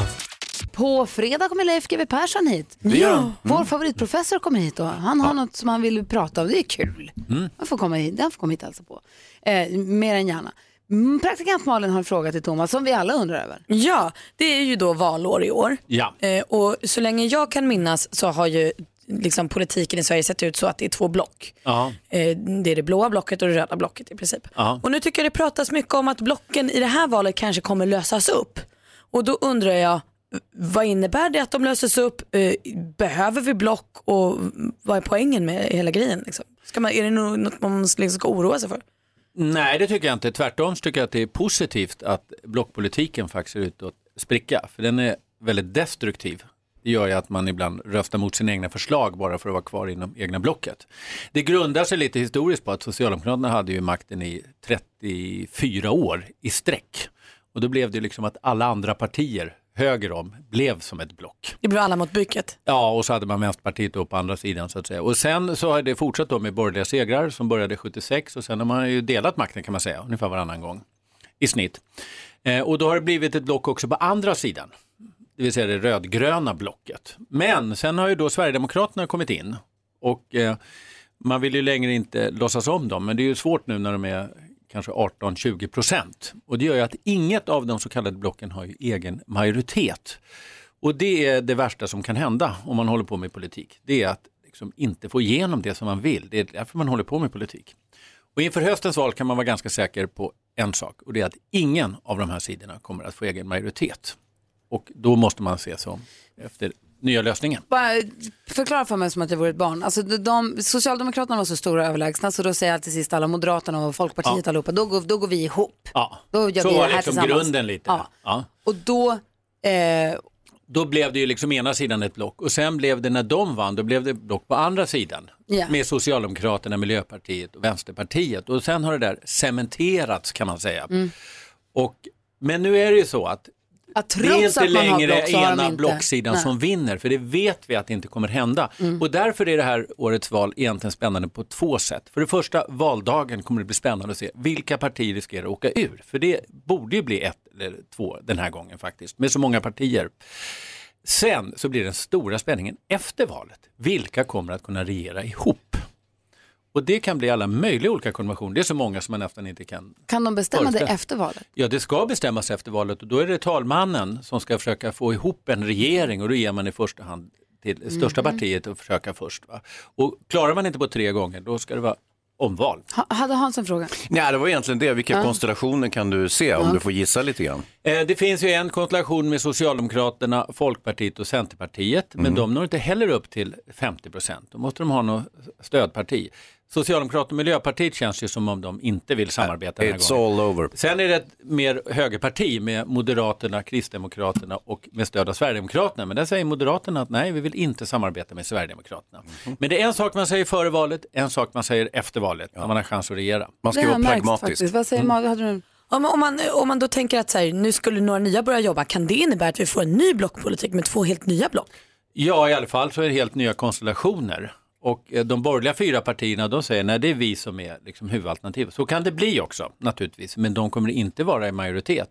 Speaker 1: På fredag kommer Leif GW Persson hit.
Speaker 18: Det gör han. Mm.
Speaker 1: Vår favoritprofessor kommer hit och han har något som han vill prata om. Det är kul.
Speaker 5: Mm.
Speaker 1: Han får komma hit, han får komma hit och hälsa på. Eh, mer än gärna. Mm, Praktikant Malin har en fråga till Thomas som vi alla undrar över.
Speaker 2: Ja, det är ju då valår i år.
Speaker 18: Ja.
Speaker 2: Eh, och så länge jag kan minnas så har ju liksom, politiken i Sverige sett ut så att det är två block.
Speaker 18: Ja.
Speaker 2: Eh, det är det blåa blocket och det röda blocket i princip.
Speaker 18: Ja.
Speaker 2: Och nu tycker jag det pratas mycket om att blocken i det här valet kanske kommer lösas upp. Och då undrar jag, vad innebär det att de löses upp? Eh, Behöver vi block och vad är poängen med hela grejen? Liksom? Ska man, är det nog något man liksom ska oroa sig för?
Speaker 18: Nej, det tycker jag inte. Tvärtom så tycker jag att det är positivt att blockpolitiken faktiskt är ute att spricka. För den är väldigt destruktiv. Det gör ju att man ibland röstar mot sina egna förslag bara för att vara kvar inom egna blocket. Det grundar sig lite historiskt på att Socialdemokraterna hade ju makten i 34 år i sträck. Och då blev det liksom att alla andra partier höger om blev som ett block.
Speaker 2: Det blir alla mot bycket.
Speaker 18: Ja, och så hade man Vänsterpartiet då på andra sidan så att säga. Och sen så har det fortsatt då med borgerliga segrar som började 76 och sen har man ju delat makten kan man säga, ungefär varannan gång i snitt. Eh, och då har det blivit ett block också på andra sidan, det vill säga det rödgröna blocket. Men sen har ju då Sverigedemokraterna kommit in och eh, man vill ju längre inte låtsas om dem, men det är ju svårt nu när de är kanske 18-20 procent. Och det gör ju att inget av de så kallade blocken har ju egen majoritet. Och det är det värsta som kan hända om man håller på med politik. Det är att liksom inte få igenom det som man vill. Det är därför man håller på med politik. Och inför höstens val kan man vara ganska säker på en sak och det är att ingen av de här sidorna kommer att få egen majoritet. Och då måste man se sig om efter nya lösningen.
Speaker 1: Bara förklara för mig som att jag vore ett barn. Alltså, de, de, Socialdemokraterna var så stora och överlägsna så då säger jag till sist alla Moderaterna och Folkpartiet
Speaker 18: Ja.
Speaker 1: allihopa, då går, då går vi ihop.
Speaker 18: Ja.
Speaker 1: Då gör
Speaker 18: Så
Speaker 1: vi det
Speaker 18: var
Speaker 1: här
Speaker 18: liksom
Speaker 1: tillsammans.
Speaker 18: grunden lite.
Speaker 1: Ja.
Speaker 18: Ja.
Speaker 1: Och då, eh,
Speaker 18: Då blev det ju liksom ena sidan ett block och sen blev det när de vann, då blev det block på andra sidan.
Speaker 1: Ja.
Speaker 18: Med Socialdemokraterna, Miljöpartiet och Vänsterpartiet. Och sen har det där cementerats kan man säga. Och, men nu är det ju så att
Speaker 1: att
Speaker 18: det är
Speaker 1: trots
Speaker 18: inte
Speaker 1: att man har
Speaker 18: längre
Speaker 1: block så har de
Speaker 18: ena
Speaker 1: inte.
Speaker 18: blocksidan
Speaker 1: Nej. Mm.
Speaker 18: som vinner, för det vet vi att det inte kommer hända. Och därför är det här årets val egentligen spännande på två sätt. För det första, valdagen kommer det bli spännande att se vilka partier riskerar att åka ur. För det borde ju bli ett eller två den här gången faktiskt, med så många partier. Sen så blir den stora spänningen efter valet. Vilka kommer att kunna regera ihop? Och det kan bli alla möjliga olika konventioner. Det är så många som man nästan inte kan
Speaker 1: Kan de bestämma det
Speaker 18: Föreställ-
Speaker 1: efter valet?
Speaker 18: Ja, det ska bestämmas efter valet och då är det talmannen som ska försöka få ihop en regering och då ger man i första hand till det största
Speaker 13: Mm.
Speaker 1: Mhm.
Speaker 18: partiet att försöka först. Va? Och klarar man inte på tre gånger, då ska det vara omval.
Speaker 1: Ha, hade Hans en fråga?
Speaker 3: Nej, det var egentligen det. Vilka
Speaker 1: Ja.
Speaker 3: konstellationer kan du se om
Speaker 1: Ja.
Speaker 3: du får gissa lite grann?
Speaker 18: Eh, Det finns ju en konstellation med Socialdemokraterna, Folkpartiet och Centerpartiet,
Speaker 13: Mm.
Speaker 18: men de når inte heller upp till 50 procent. Då måste de ha något stödparti. Socialdemokraterna och Miljöpartiet känns ju som om de inte vill samarbeta den här
Speaker 3: It's all
Speaker 18: gången.
Speaker 3: over.
Speaker 18: Sen är det ett mer högerparti med Moderaterna, Kristdemokraterna och med stöd av Sverigedemokraterna. Men där säger Moderaterna att nej, vi vill inte samarbeta med Sverigedemokraterna. Men det är en sak man säger före valet, en sak man säger efter valet när man har chans att regera. Man
Speaker 1: det har jag märkt Faktiskt. Vad
Speaker 3: Mm.
Speaker 1: säger Malin? Hade du en-
Speaker 2: Om, om, man, om man då tänker att så här, nu skulle några nya börja jobba, kan det innebära att vi får en ny blockpolitik med två helt nya block?
Speaker 18: Ja, i alla fall så är det helt nya konstellationer. Och eh, de borgerliga fyra partierna de säger nej det är vi som är liksom huvudalternativet. Så kan det bli också naturligtvis, men de kommer inte vara i majoritet.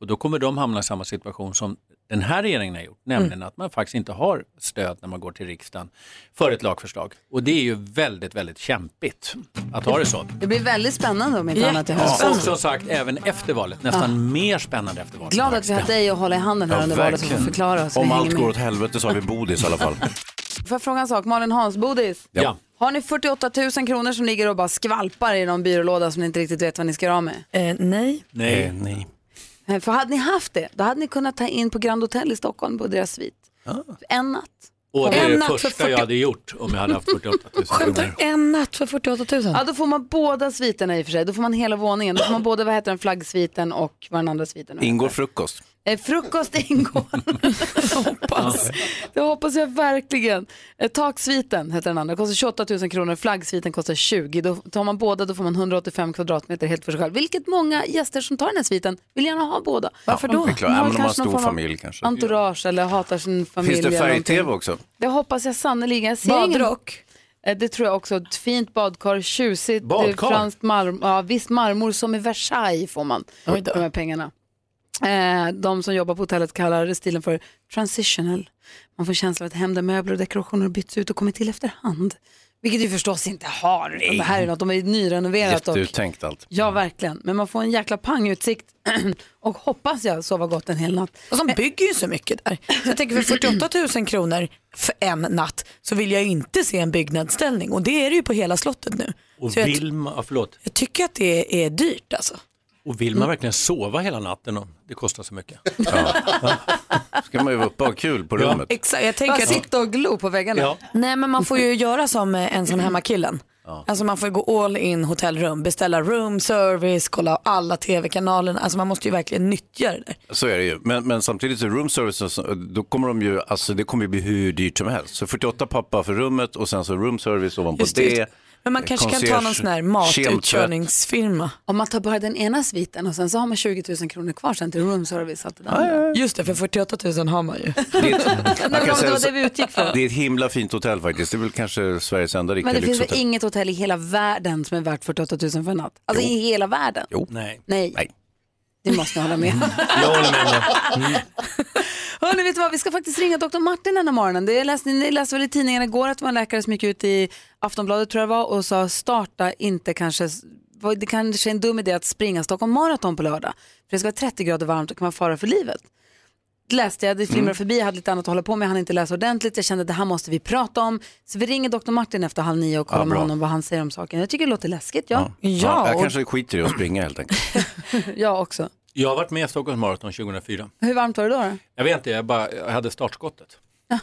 Speaker 18: Och då kommer de hamna i samma situation som den här regeringen har gjort, nämligen
Speaker 1: Mm.
Speaker 18: att man faktiskt inte har stöd när man går till riksdagen för ett lagförslag. Och det är ju väldigt, väldigt kämpigt att ha det så.
Speaker 1: Det blir väldigt spännande om inte annat i höst.
Speaker 18: Ja, och som sagt, även efter valet, nästan mer spännande efter valet.
Speaker 1: Glad att vi har dig att hålla i handen här under valet och få förklara oss. Vi
Speaker 3: Om
Speaker 1: hänger
Speaker 3: allt
Speaker 1: med.
Speaker 3: går åt helvete
Speaker 1: <laughs>
Speaker 3: så har vi Bodis i alla fall.
Speaker 1: Får jag fråga en sak? Malin Hans, Bodis.
Speaker 3: Ja.
Speaker 1: Har ni 48 000 kronor som ligger och bara skvalpar i någon byrålåda som ni inte riktigt vet vad ni ska göra av med?
Speaker 2: nej.
Speaker 18: Nej.
Speaker 3: nej.
Speaker 1: Eh, För hade ni haft det, då hade ni kunnat ta in på Grand Hotel i Stockholm på deras svit.
Speaker 3: Ah.
Speaker 1: En natt.
Speaker 18: Och det är
Speaker 1: En
Speaker 18: det
Speaker 1: natt för
Speaker 18: första jag
Speaker 1: 40
Speaker 18: hade gjort om jag hade haft 48 000 kronor.
Speaker 2: En natt för 48 000?
Speaker 1: Ja, då får man båda sviterna i och för sig. Då får man hela våningen. Då får man både, vad heter den, flaggsviten och vad den andra sviten nu
Speaker 3: Ingår frukost.
Speaker 1: Eh, frukost ingår. hoppas. Det hoppas jag verkligen. Eh, taksviten heter den andra, kostar 28 000 kronor. Flaggsviten kostar 20. Då tar man båda, då får man 185 kvadratmeter helt för sig själv. Vilket många gäster som tar den här sviten vill gärna ha båda. Varför
Speaker 3: det
Speaker 1: då?
Speaker 3: är klart. Ja, men om man har
Speaker 1: kanske någon
Speaker 3: stor
Speaker 1: form av
Speaker 3: familj kanske.
Speaker 1: Entourage eller hatar sin familj.
Speaker 3: Finns det
Speaker 1: eller någonting.
Speaker 3: färg-tv också?
Speaker 1: Det hoppas jag sannerligen. Jag ser
Speaker 2: Badrock?
Speaker 1: Ingen... Eh, Det tror jag också. Ett fint badkar, tjusigt eh,
Speaker 2: Badkar?
Speaker 1: franskt marmor. Ja, visst marmor som i Versailles får man för de här pengarna. Eh, De som jobbar på hotellet kallar stilen för transitional. Man får känslan av att hem där möbler och dekorationer har bytts ut och kommit till efterhand. Vilket du förstås inte har. utan Det här är något, de är nyrenoverat. Och,
Speaker 3: Jätteuttänkt allt.
Speaker 1: ja, verkligen. Men man får en jäkla pangutsikt <clears throat> och hoppas jag sova gott en hel natt.
Speaker 2: Och de bygger ju så mycket där. Så jag tänker för 48 000 kronor för en natt så vill jag ju inte se en byggnadsställning och det är det ju på hela slottet nu.
Speaker 18: Och
Speaker 2: så jag,
Speaker 18: vill man, ja, förlåt.
Speaker 2: jag tycker att det är dyrt alltså.
Speaker 18: Och vill man verkligen sova hela natten om det kostar så mycket?
Speaker 3: Ska man ju vara uppe och ha kul
Speaker 1: <laughs>
Speaker 3: på rummet.
Speaker 2: Exakt, jag
Speaker 1: Bara
Speaker 2: tänker att...
Speaker 1: sitta och glo på väggarna.
Speaker 3: Ja.
Speaker 2: Nej men man får ju göra som eh, ensam hemmakillen. Alltså man får ju gå all in hotellrum, beställa room service, kolla alla tv-kanalerna. Alltså man måste ju verkligen nyttja det där.
Speaker 3: Så är det ju. Men, men samtidigt så room service, så- då kommer de ju, alltså det kommer ju bli hur dyrt som helst. Så 48 pappa för rummet och sen så room service ovanpå
Speaker 2: Just det,
Speaker 3: det.
Speaker 2: just det. Men man
Speaker 3: Eh,
Speaker 2: kanske kan ta
Speaker 3: concierge,
Speaker 2: någon sån här
Speaker 3: kemtvätt.
Speaker 2: matutkörningsfirma.
Speaker 1: Om man tar bara den ena sviten och sen så har man 20 000 kronor kvar sen till roomservice. och allt det där.
Speaker 2: Just det, för 48 000 har man ju.
Speaker 1: <laughs> Nej,
Speaker 3: Man
Speaker 1: men
Speaker 3: kan
Speaker 1: om det
Speaker 3: säga
Speaker 1: var
Speaker 3: så-
Speaker 1: det vi utgick för.
Speaker 3: Det är ett himla fint hotell faktiskt. Det är väl kanske Sveriges enda riktiga
Speaker 1: Men det finns väl
Speaker 3: lyxhotell.
Speaker 1: inget hotell i hela världen som är värt 48 000 för en natt? Alltså i hela världen?
Speaker 3: Jo.
Speaker 18: Nej.
Speaker 1: Nej. Det måste ni hålla med om.
Speaker 18: Jag håller med.
Speaker 1: Hörrni, vet du vad? Vi ska faktiskt ringa Dr. Martin den här morgonen. Det jag läste, ni läste väl i tidningen igår att det var en läkare som gick ut i Aftonbladet tror jag det var och sa starta inte kanske, vad- det kanske är en dum idé att springa Stockholm Marathon på lördag. För det ska vara 30 grader varmt och kan man fara för livet. Läste jag, det flimrade förbi, jag hade lite annat att hålla på med, jag hann inte läsa ordentligt. Jag kände att det här måste vi prata om. Så vi ringer Dr. Martin efter halv nio och kollar
Speaker 3: Ja,
Speaker 1: med
Speaker 3: bra.
Speaker 1: honom vad han säger om saken. Jag tycker det låter läskigt, ja.
Speaker 3: Ja, jag
Speaker 1: och-
Speaker 3: kanske skiter i att springa helt enkelt.
Speaker 1: jag också.
Speaker 18: Jag har varit med i Stockholms Marathon 2004.
Speaker 1: Hur varmt var det då?
Speaker 18: Jag vet inte, jag, bara, jag hade startskottet.
Speaker 1: då?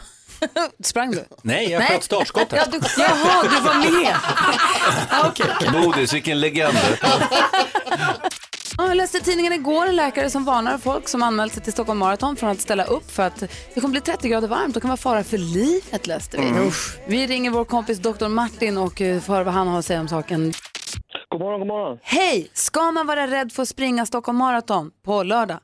Speaker 1: Sprang du?
Speaker 18: Nej, jag
Speaker 1: Nej.
Speaker 18: sköt startskottet.
Speaker 1: <laughs> Ja, du, jaha, du var med.
Speaker 3: Bodis, vilken legend.
Speaker 1: Ja, jag läste i tidningen igår en läkare som varnar folk som anmält sig till Stockholm Marathon från att ställa upp för att det kommer bli 30 grader varmt och kan vara fara för livet läste vi.
Speaker 13: Mm.
Speaker 1: Vi ringer vår kompis Dr. Martin och eh, får höra vad han har att säga om saken.
Speaker 12: God morgon, god morgon.
Speaker 1: Hej! Ska man vara rädd för att springa Stockholm Marathon på lördag?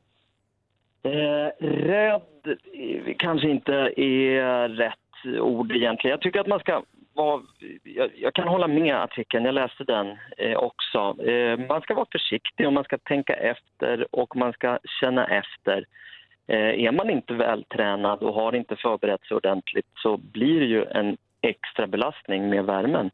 Speaker 12: Eh, rädd eh, kanske inte är rätt ord egentligen. Jag tycker att man ska vara... Jag, jag kan hålla med artikeln, jag läste den eh, också. Eh, man ska vara försiktig och man ska tänka efter och man ska känna efter. Eh, är man inte vältränad och har inte förberett sig ordentligt så blir det ju en extra belastning med värmen.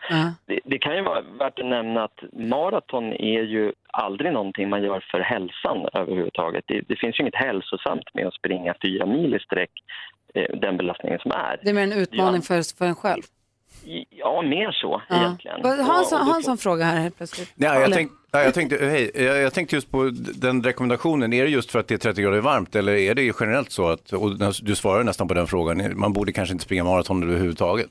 Speaker 12: Det, det kan ju vara värt att nämna att maraton är ju aldrig någonting man gör för hälsan överhuvudtaget. Det, det finns ju inget hälsosamt med att springa fyra mil i sträck, eh, den belastningen som är.
Speaker 1: Det är mer en utmaning för, för en själv.
Speaker 12: Ja, mer så egentligen.
Speaker 1: Vad- Har han så-
Speaker 12: Och- och
Speaker 1: har
Speaker 12: det-
Speaker 1: han en sån fråga här helt plötsligt?
Speaker 3: Nej, jag,
Speaker 1: Eller-
Speaker 3: tänk, nej, jag, tänkte, hej, jag, jag tänkte just på d- den rekommendationen. Är det just för att det är 30 grader varmt eller är det generellt så att, och när- du svarar nästan på den frågan, man borde kanske inte springa maraton överhuvudtaget?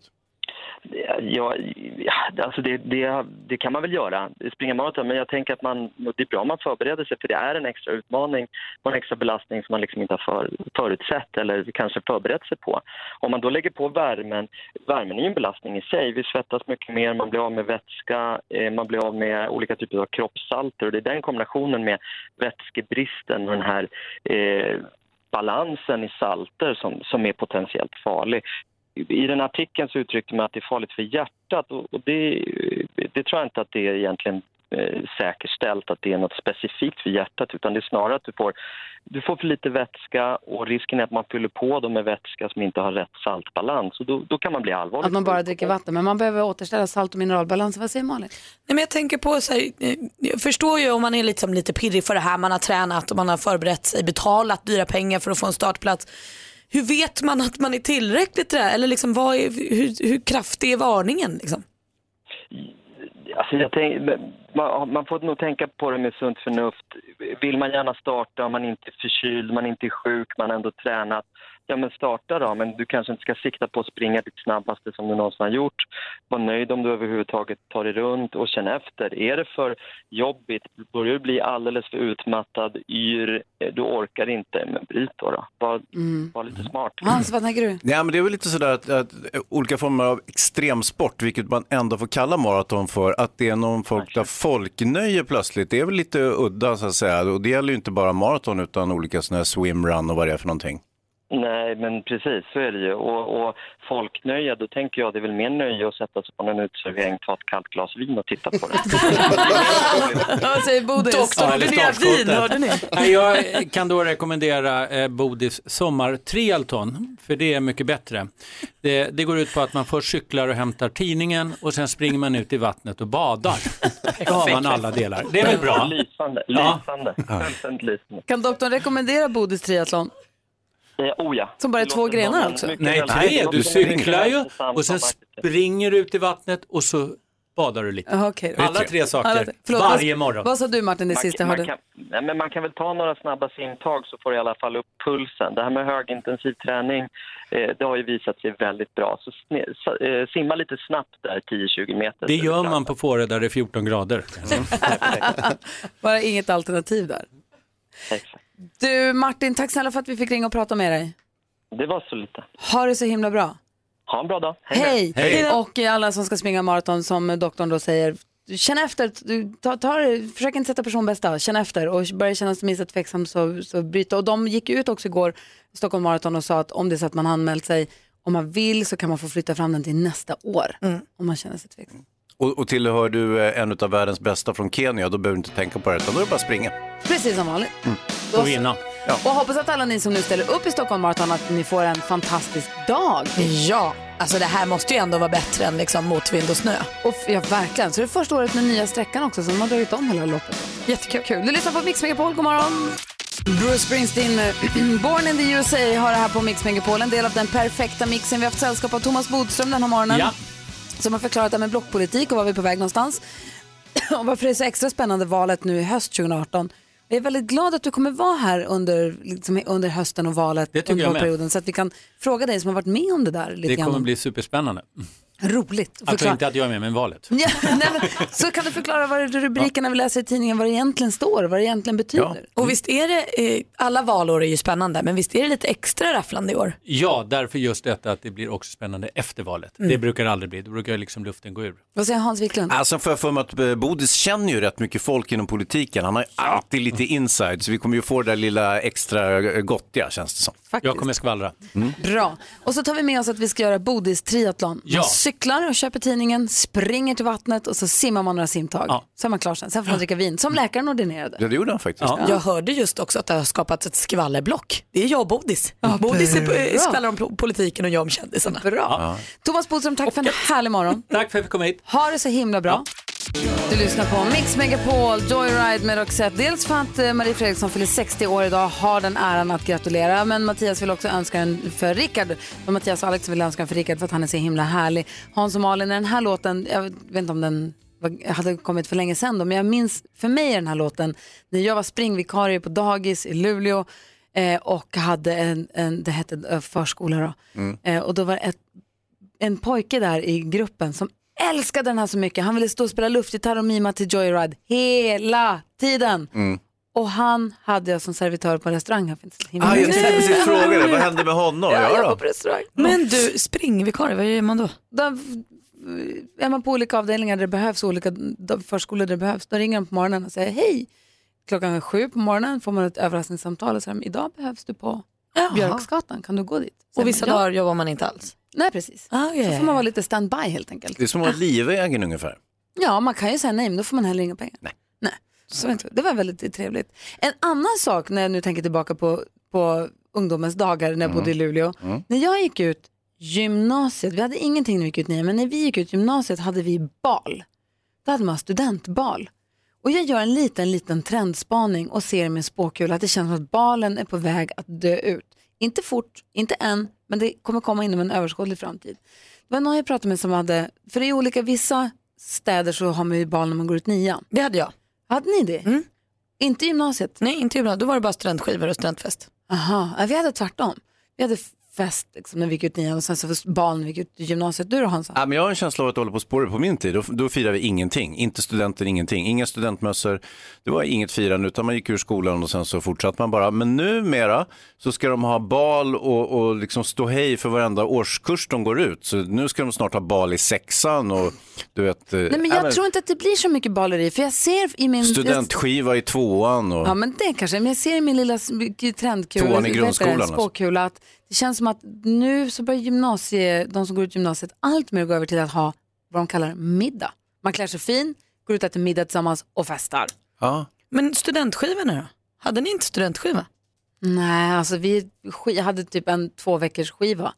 Speaker 12: Ja, ja, alltså det, det, det kan man väl göra, springa maraton, men jag tänker att man, det är bra om man förbereder sig för det är en extra utmaning och en extra belastning som man liksom inte har för, förutsett eller kanske förberett sig på. Om man då lägger på värmen, värmen är ju en belastning i sig, vi svettas mycket mer, man blir av med vätska, eh, man blir av med olika typer av kroppssalter och det är den kombinationen med vätskebristen och den här eh, balansen i salter som, som är potentiellt farlig i den artikeln så uttryckte man att det är farligt för hjärtat och och det, det tror jag inte att det är egentligen eh, säkerställt att det är något specifikt för hjärtat utan det är snarare att du får, du får för lite vätska och risken är att man fyller på dem med vätska som inte har rätt saltbalans och då, då kan man bli allvarligt
Speaker 1: Att man bara dricker vatten, men man behöver återställa salt och mineralbalansen. Vad säger Malin?
Speaker 2: Nej, men jag tänker på så här, eh, jag förstår ju om man är liksom lite pirrig för det här, man har tränat och man har förberett sig, betalat dyra pengar för att få en startplats. Hur vet man att man är tillräckligt där? Eller liksom, vad är, hur, hur kraftig är varningen? Liksom?
Speaker 12: Alltså jag tänk, man, man får nog tänka på det med sunt förnuft. Vill man gärna starta, om man inte är förkyld, man inte är sjuk, man har ändå tränat, ja men starta då, men du kanske inte ska sikta på att springa ditt snabbaste som du någonsin har gjort. Var nöjd om du överhuvudtaget tar dig runt och känn efter. Är det för jobbigt, börjar du bli alldeles för utmattad, yr, eh, du orkar inte, men bryt då. då. Var, var lite smart.
Speaker 1: Hans, vad tänker du?
Speaker 3: Nej, men det är väl lite sådär att, att olika former av extremsport, vilket man ändå får kalla maraton för, att det är någon form av folknöje plötsligt. Det är väl lite udda så att säga. Och det gäller ju inte bara maraton utan olika sådana här swimrun och vad det är för någonting.
Speaker 12: Nej, men precis så är det ju. Och, och folknöje, då tänker jag det är väl mer nöje att sätta sig på någon uteservering, ta ett kallt glas vin och titta
Speaker 14: <laughs>
Speaker 12: på det.
Speaker 1: Vad säger Bodis?
Speaker 18: Ja, eller startskottet. Nej, jag kan då rekommendera eh, Bodis sommartrialton, för det är mycket bättre. Det, det går ut på att man först cyklar och hämtar tidningen och sen springer man ut i vattnet och badar. Då har man alla delar. Det är väl bra?
Speaker 12: Lysande,
Speaker 18: Ja.
Speaker 12: lysande. Fullständigt lysande.
Speaker 1: Kan doktorn rekommendera Bodis triathlon?
Speaker 12: Eh, oh ja.
Speaker 1: Som bara är
Speaker 12: Det
Speaker 1: två
Speaker 12: låter
Speaker 1: grenar
Speaker 12: som-
Speaker 1: alltså?
Speaker 12: mycket
Speaker 18: Nej,
Speaker 12: väl- det
Speaker 18: tre.
Speaker 12: låter
Speaker 18: Du
Speaker 12: som mycket
Speaker 18: cyklar ju
Speaker 12: hälsosam
Speaker 18: och sen
Speaker 12: sommar.
Speaker 18: springer du ut i vattnet och så badar du lite.
Speaker 1: Jaha, okej då.
Speaker 18: Alla tre
Speaker 1: Alla
Speaker 18: saker,
Speaker 1: tre. Förlåt,
Speaker 18: varje
Speaker 1: vad-
Speaker 18: morgon.
Speaker 1: Vad sa du Martin, det sista jag
Speaker 12: man,
Speaker 1: hörde?
Speaker 12: kan, nej, men man kan väl ta några snabba simtag så får du i alla fall upp pulsen. Det här med högintensiv träning, eh, det har ju visat sig väldigt bra. Så sne, sa- eh, simma lite snabbt där, 10-20 meter.
Speaker 18: Det gör man på Fårö där det är 14 grader.
Speaker 1: Bara inget alternativ där. Du Martin, tack snälla för att vi fick ringa och prata med dig.
Speaker 12: Det var så lite.
Speaker 1: Ha det så himla bra.
Speaker 12: Ha en bra dag.
Speaker 1: Hej! Och alla som ska springa maraton som doktorn då säger, känn efter, du, ta, ta, det, försök inte sätta personbästa, känn efter och börjar känna sig minst tveksam så, så bryta. Och de gick ut också igår, Stockholm Marathon, och sa att om det är så att man har anmält sig, om man vill så kan man få flytta fram den till nästa år. Om man känner sig tveksam.
Speaker 3: Och, och tillhör du eh, en av världens bästa från Kenya, då behöver du inte tänka på det, utan då är det bara att springa.
Speaker 1: Precis som vanligt.
Speaker 3: Och vinna. Ja.
Speaker 1: Och hoppas att alla ni som nu ställer upp i Stockholm Marathon att ni får en fantastisk dag.
Speaker 2: Ja, alltså det här måste ju ändå vara bättre än liksom motvind och snö.
Speaker 1: Och f- ja, verkligen. Så det är första året med nya sträckan också, så de har dragit om hela loppet. Jättekul. Kul. Du lyssnar på Mix Megapol, god morgon. Bruce Springsteen med <clears throat> Born in the USA har det här på Mix Megapol, en del av den perfekta mixen. Vi har haft sällskap av Thomas Bodström den här morgonen.
Speaker 5: Ja.
Speaker 1: Som har förklarat det här med blockpolitik och var vi är på väg någonstans. <clears throat> och varför det är så extra spännande valet nu i höst 2018. Jag är väldigt glad att du kommer vara här under, liksom, under hösten och valet
Speaker 18: tycker
Speaker 1: under
Speaker 18: jag med.
Speaker 1: valperioden så att vi kan fråga dig som har varit med om det där lite
Speaker 18: Det
Speaker 1: grann.
Speaker 18: kommer bli superspännande.
Speaker 1: Roligt. att
Speaker 18: Alltså
Speaker 1: förklara.
Speaker 18: inte att jag är med, men valet.
Speaker 1: <laughs> Ja, nej, men, så kan du förklara vad rubrikerna vi läser i tidningen, vad det egentligen står, vad det egentligen betyder.
Speaker 2: Och visst är det, eh, alla valår är ju spännande, men visst är det lite extra rafflande i år?
Speaker 18: Ja, därför just detta att det blir också spännande efter valet.
Speaker 2: Mm.
Speaker 18: Det brukar aldrig bli, då brukar liksom luften gå ur.
Speaker 1: Vad säger Hans
Speaker 18: Ah,
Speaker 1: Wiklund?
Speaker 3: Alltså får jag för mig att eh, Bodis känner ju rätt mycket folk inom politiken. Han har ju alltid lite inside, så vi kommer ju få det där lilla extra eh, gottiga känns det som.
Speaker 18: Jag kommer skvallra.
Speaker 1: Bra. Och så tar vi med oss att vi ska göra Bodis triathlon. Man
Speaker 18: Ja.
Speaker 1: cyklar och köper tidningen, springer till vattnet och så simmar man några simtag. Så är man klar sen. Sen får man dricka vin, som läkaren ordinerade.
Speaker 3: Ja, det gjorde han faktiskt.
Speaker 2: Jag hörde just också att det har skapats ett skvallerblock. Det är jag och Bodis. Bodis är,
Speaker 1: bra.
Speaker 2: eh, skvallrar om po- politiken och jag om kändisarna.
Speaker 18: Bra.
Speaker 1: Thomas Bodström, tack för en härlig morgon.
Speaker 18: Tack för att vi kom hit.
Speaker 1: Ha det så himla bra. Du lyssnar på Mix Megapol, Joyride med Roxette. Dels för att eh, Marie Fredriksson fyller 60 år idag, har den äran att gratulera. Men Mattias vill också önska en för Rickard. Och Mattias och Alex vill önska en för Rickard för att han är så himla härlig. Hans och Malin, är den här låten, jag vet inte om den var- hade kommit för länge sedan då, men jag minns, för mig är den här låten, när jag var springvikarie på dagis i Luleå eh, och hade en, en det hette eh, förskola då.
Speaker 5: Mm.
Speaker 1: Eh, och då var det ett, en pojke där i gruppen som älskade den här så mycket. Han ville stå och spela luftgitarr och mima till Joyride hela tiden.
Speaker 3: Mm.
Speaker 1: Och han hade jag som servitör på en restaurang. här för inte så himla
Speaker 3: Ah, jag
Speaker 1: länge
Speaker 3: tänkte
Speaker 1: sedan.
Speaker 3: precis fråga det, vad hände med honom?
Speaker 1: Ja, jag var
Speaker 3: då?
Speaker 1: på restaurang.
Speaker 2: Men du, springvikarie, vad gör man då?
Speaker 1: Då eh, är man på olika avdelningar där det behövs, olika d- förskolor där det behövs. Då ringer de på morgonen och säger hej. Klockan är sju på morgonen får man ett överraskningssamtal och säger idag behövs du på Björksgatan, kan du gå dit? Säger
Speaker 2: Och vissa
Speaker 1: man, "Ja."
Speaker 2: dagar jobbar man inte alls.
Speaker 1: Nej, precis.
Speaker 2: ja,
Speaker 1: Så får man vara lite standby helt enkelt.
Speaker 3: Det är som att vara livvägen ungefär.
Speaker 1: Ja, man kan ju säga nej, men då får man heller inga pengar. Nej. Så vet du, det var väldigt trevligt. En annan sak när jag nu tänker tillbaka på, på ungdomens dagar när jag
Speaker 5: Mm.
Speaker 1: bodde i Luleå.
Speaker 5: Mm.
Speaker 1: När jag gick ut gymnasiet, vi hade ingenting när vi gick ut nian, men när vi gick ut gymnasiet hade vi bal. Då hade man studentbal. Och jag gör en liten, liten trendspaning och ser med spåkula att det känns som att balen är på väg att dö ut. Inte fort, inte än, men det kommer komma inom en överskådlig framtid. Det var någon jag pratade med som hade, för i olika vissa städer så har man ju bal när man går ut nian.
Speaker 2: Det hade jag.
Speaker 1: Hade ni det? Inte gymnasiet?
Speaker 2: Nej, inte gymnasiet. Då var det bara studentskivor och studentfest.
Speaker 1: Aha, ja, vi hade tvärtom. Vi hade fest liksom, när vi gick ut nian och sen så för barn när vi gick ut i gymnasiet. Du då Hansa?
Speaker 3: Ja, men jag har en känsla av att det håller på att spåra på min tid. Då, då firade vi ingenting. Inte studenten, ingenting. Inga studentmössor. Det var inget firande utan man gick ur skolan och sen så fortsatte man bara. Men numera så ska de ha bal och, och liksom stå hej för varenda årskurs de går ut. Så nu ska de snart ha bal i sexan och du vet. eh,
Speaker 1: Nej men jag tror inte att det blir så mycket baleri för jag ser i min...
Speaker 3: Studentskiva i tvåan och...
Speaker 1: Ja men det kanske, men jag ser i min lilla s- trendkula,
Speaker 3: Tvåan i
Speaker 1: vad heter det?
Speaker 3: grundskolan, alltså.
Speaker 1: spåkula, att det känns som att nu så börjar gymnasie, de som går ut gymnasiet allt mer gå över till att ha vad de kallar middag. Man klär sig fin, går ut och äter middag tillsammans och festar.
Speaker 3: Ja.
Speaker 2: Men studentskivorna då? Hade ni inte studentskiva?
Speaker 1: Nej, alltså vi sk- hade typ en två veckors skiva.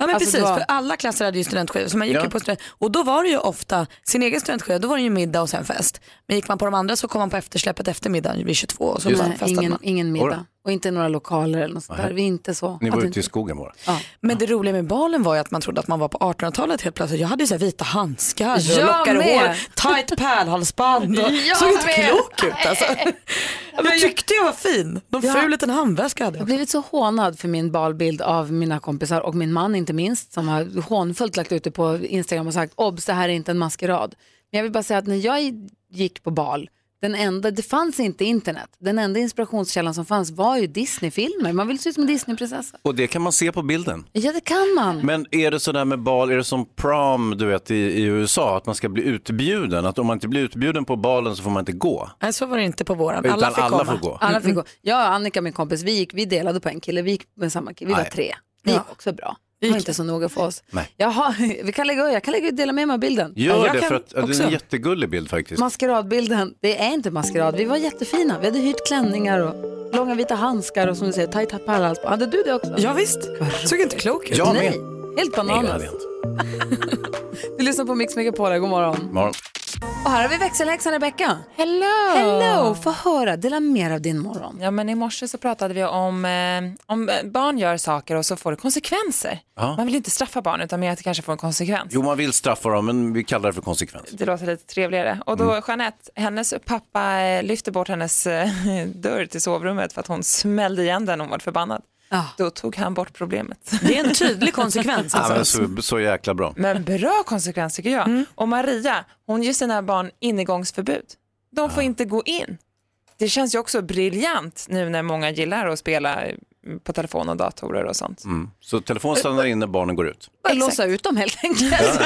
Speaker 2: Ja men
Speaker 1: Alltså,
Speaker 2: precis,
Speaker 1: det var-
Speaker 2: för alla klasser hade ju studentskiva. Så man gick
Speaker 1: Ja.
Speaker 2: ju på student... Och då var det ju ofta sin egen studentskiva, då var det ju middag och sen fest. Men gick man på de andra så kom man på eftersläppet efter middagen vid 22 och så
Speaker 1: Just
Speaker 2: bara
Speaker 1: det.
Speaker 2: festade
Speaker 1: ingen,
Speaker 2: man.
Speaker 1: ingen middag och inte några lokaler eller något sånt där.
Speaker 2: Nej.
Speaker 1: Vi är inte så.
Speaker 3: Ni var
Speaker 1: Hade
Speaker 3: ute i skogen bara.
Speaker 2: Men det roliga med balen var ju att man trodde att man var på 1800-talet helt plötsligt. Jag hade ju så här vita handskar,
Speaker 1: Jag
Speaker 2: lockar
Speaker 1: med.
Speaker 2: hår, tight pärlhalsband. och
Speaker 1: <laughs> Jag
Speaker 2: Såg inte
Speaker 1: med.
Speaker 2: klok ut
Speaker 1: <laughs>
Speaker 2: alltså. Jag tyckte jag var fin. Någon
Speaker 1: Ja.
Speaker 2: ful liten handväska hade
Speaker 1: Jag har blivit så hånad för min balbild av mina kompisar och min man inte minst som har hånfullt lagt ut det på Instagram och sagt obs det här är inte en maskerad. Men jag vill bara säga att när jag gick på bal, den enda, det fanns inte internet. Den enda inspirationskällan som fanns var ju Disney-filmer. Man vill se ut som en Disney-prinsessa.
Speaker 3: Och det kan man se på bilden.
Speaker 1: Ja det kan man.
Speaker 3: Men är det sådär med bal, är det som prom du vet i, i USA, att man ska bli utbjuden? Att om man inte blir utbjuden på balen så får man inte gå?
Speaker 2: Nej så var det inte på våran.
Speaker 3: Utan Alla fick alla komma. får gå.
Speaker 1: Alla fick gå. Jag och Annika min kompis vi, gick, vi delade på en kille, vi gick med samma kille, vi var
Speaker 3: Nej.
Speaker 1: tre. Det gick också bra. Det var inte så noga för oss.
Speaker 3: Nej.
Speaker 1: Jaha, <laughs> vi kan lägga, jag kan lägga dela med mig av bilden.
Speaker 3: Gör
Speaker 1: jag
Speaker 3: det
Speaker 1: kan
Speaker 3: för att ja, det är
Speaker 1: också.
Speaker 3: en jättegullig bild faktiskt.
Speaker 1: Maskeradbilden, det är inte maskerad. Vi var jättefina. Vi hade hyrt klänningar och långa vita handskar och som du säger, tajta pärlhalsband. Hade du det också?
Speaker 2: Ja, visst. Såg inte klok ut.
Speaker 3: Jag med.
Speaker 1: Nej, helt bananas. Du lyssnar på Mix Megapol, här. god morgon.
Speaker 3: Morgon.
Speaker 1: Och här har vi växelhäxan Rebecka.
Speaker 14: Hello!
Speaker 1: Hello, få höra, dela mer av din morgon.
Speaker 14: Ja, men i morse så pratade vi om eh, om barn gör saker och så får det konsekvenser.
Speaker 3: Ja.
Speaker 14: Man vill inte straffa barn utan mer att det kanske får en konsekvens.
Speaker 3: Jo, man vill straffa dem, men vi kallar det för konsekvens.
Speaker 14: Det låter lite trevligare. Och då Jeanette, hennes pappa eh, lyfte bort hennes eh, <laughs> dörr till sovrummet för att hon smällde igen den och hon var förbannad. Då tog han bort problemet.
Speaker 2: Det är en tydlig konsekvens alltså.
Speaker 3: Ja, men så, så jäkla bra.
Speaker 14: Men bra konsekvens tycker jag. Och Maria, hon ger sina barn inegångsförbud. De får inte gå in. Det känns ju också briljant nu när många gillar att spela eh, på telefon och datorer och sånt.
Speaker 3: Mm. Så telefon stannar inne, barnen går ut.
Speaker 1: Bara låsa ut dem helt enkelt.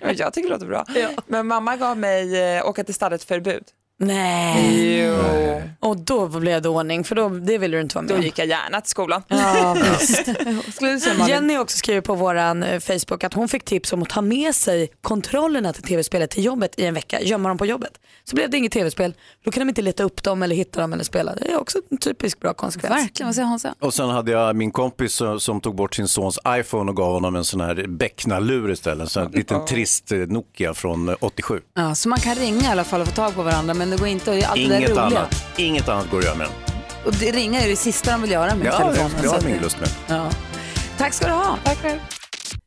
Speaker 14: Men jag tycker det låter bra. Men mamma gav mig eh, åka till stallet förbud.
Speaker 2: Nej. Och då blev det ordning för då, det ville du inte vara med
Speaker 14: Då
Speaker 2: om.
Speaker 14: gick jag gärna till skolan.
Speaker 2: Ja, visst.
Speaker 1: Skulle du säga, Malin?
Speaker 2: Jenny har också skriver på våran eh, Facebook att hon fick tips om att ta med sig kontrollerna till tv-spelet till jobbet i en vecka, gömma dem på jobbet. Så blev det inget tv-spel, då kan de inte leta upp dem eller hitta dem eller spela. Det är också en typisk bra konsekvens.
Speaker 1: Verkligen, vad säger Hansa?
Speaker 3: Och sen hade jag min kompis eh, som tog bort sin sons iPhone och gav honom en sån här becknarlur istället. Så en liten trist eh, Nokia från eh, 87.
Speaker 1: Ja, så man kan ringa i alla fall och få tag på varandra men det går inte att allt det där
Speaker 3: Inget
Speaker 1: roliga.
Speaker 3: annat, inget annat går att göra med den.
Speaker 1: Och det, ringa är det sista de vill göra med
Speaker 3: Ja,
Speaker 1: telefonen.
Speaker 3: det, det
Speaker 1: så
Speaker 3: har
Speaker 1: att
Speaker 3: de ingen
Speaker 1: det-
Speaker 3: lust med.
Speaker 1: Ja. Tack ska du ha.
Speaker 14: Tack själv.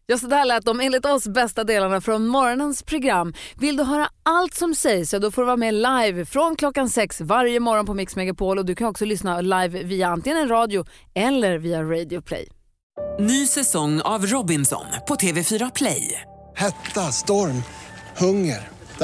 Speaker 1: Ja, så där lät de enligt oss bästa delarna från morgonens program. Vill du höra allt som sägs så då får du vara med live från klockan sex varje morgon på Mix Megapol och du kan också lyssna live via antingen en radio eller via Radio Play.
Speaker 19: Ny säsong av Robinson på TV4 Play.
Speaker 20: Hetta, storm, hunger. Det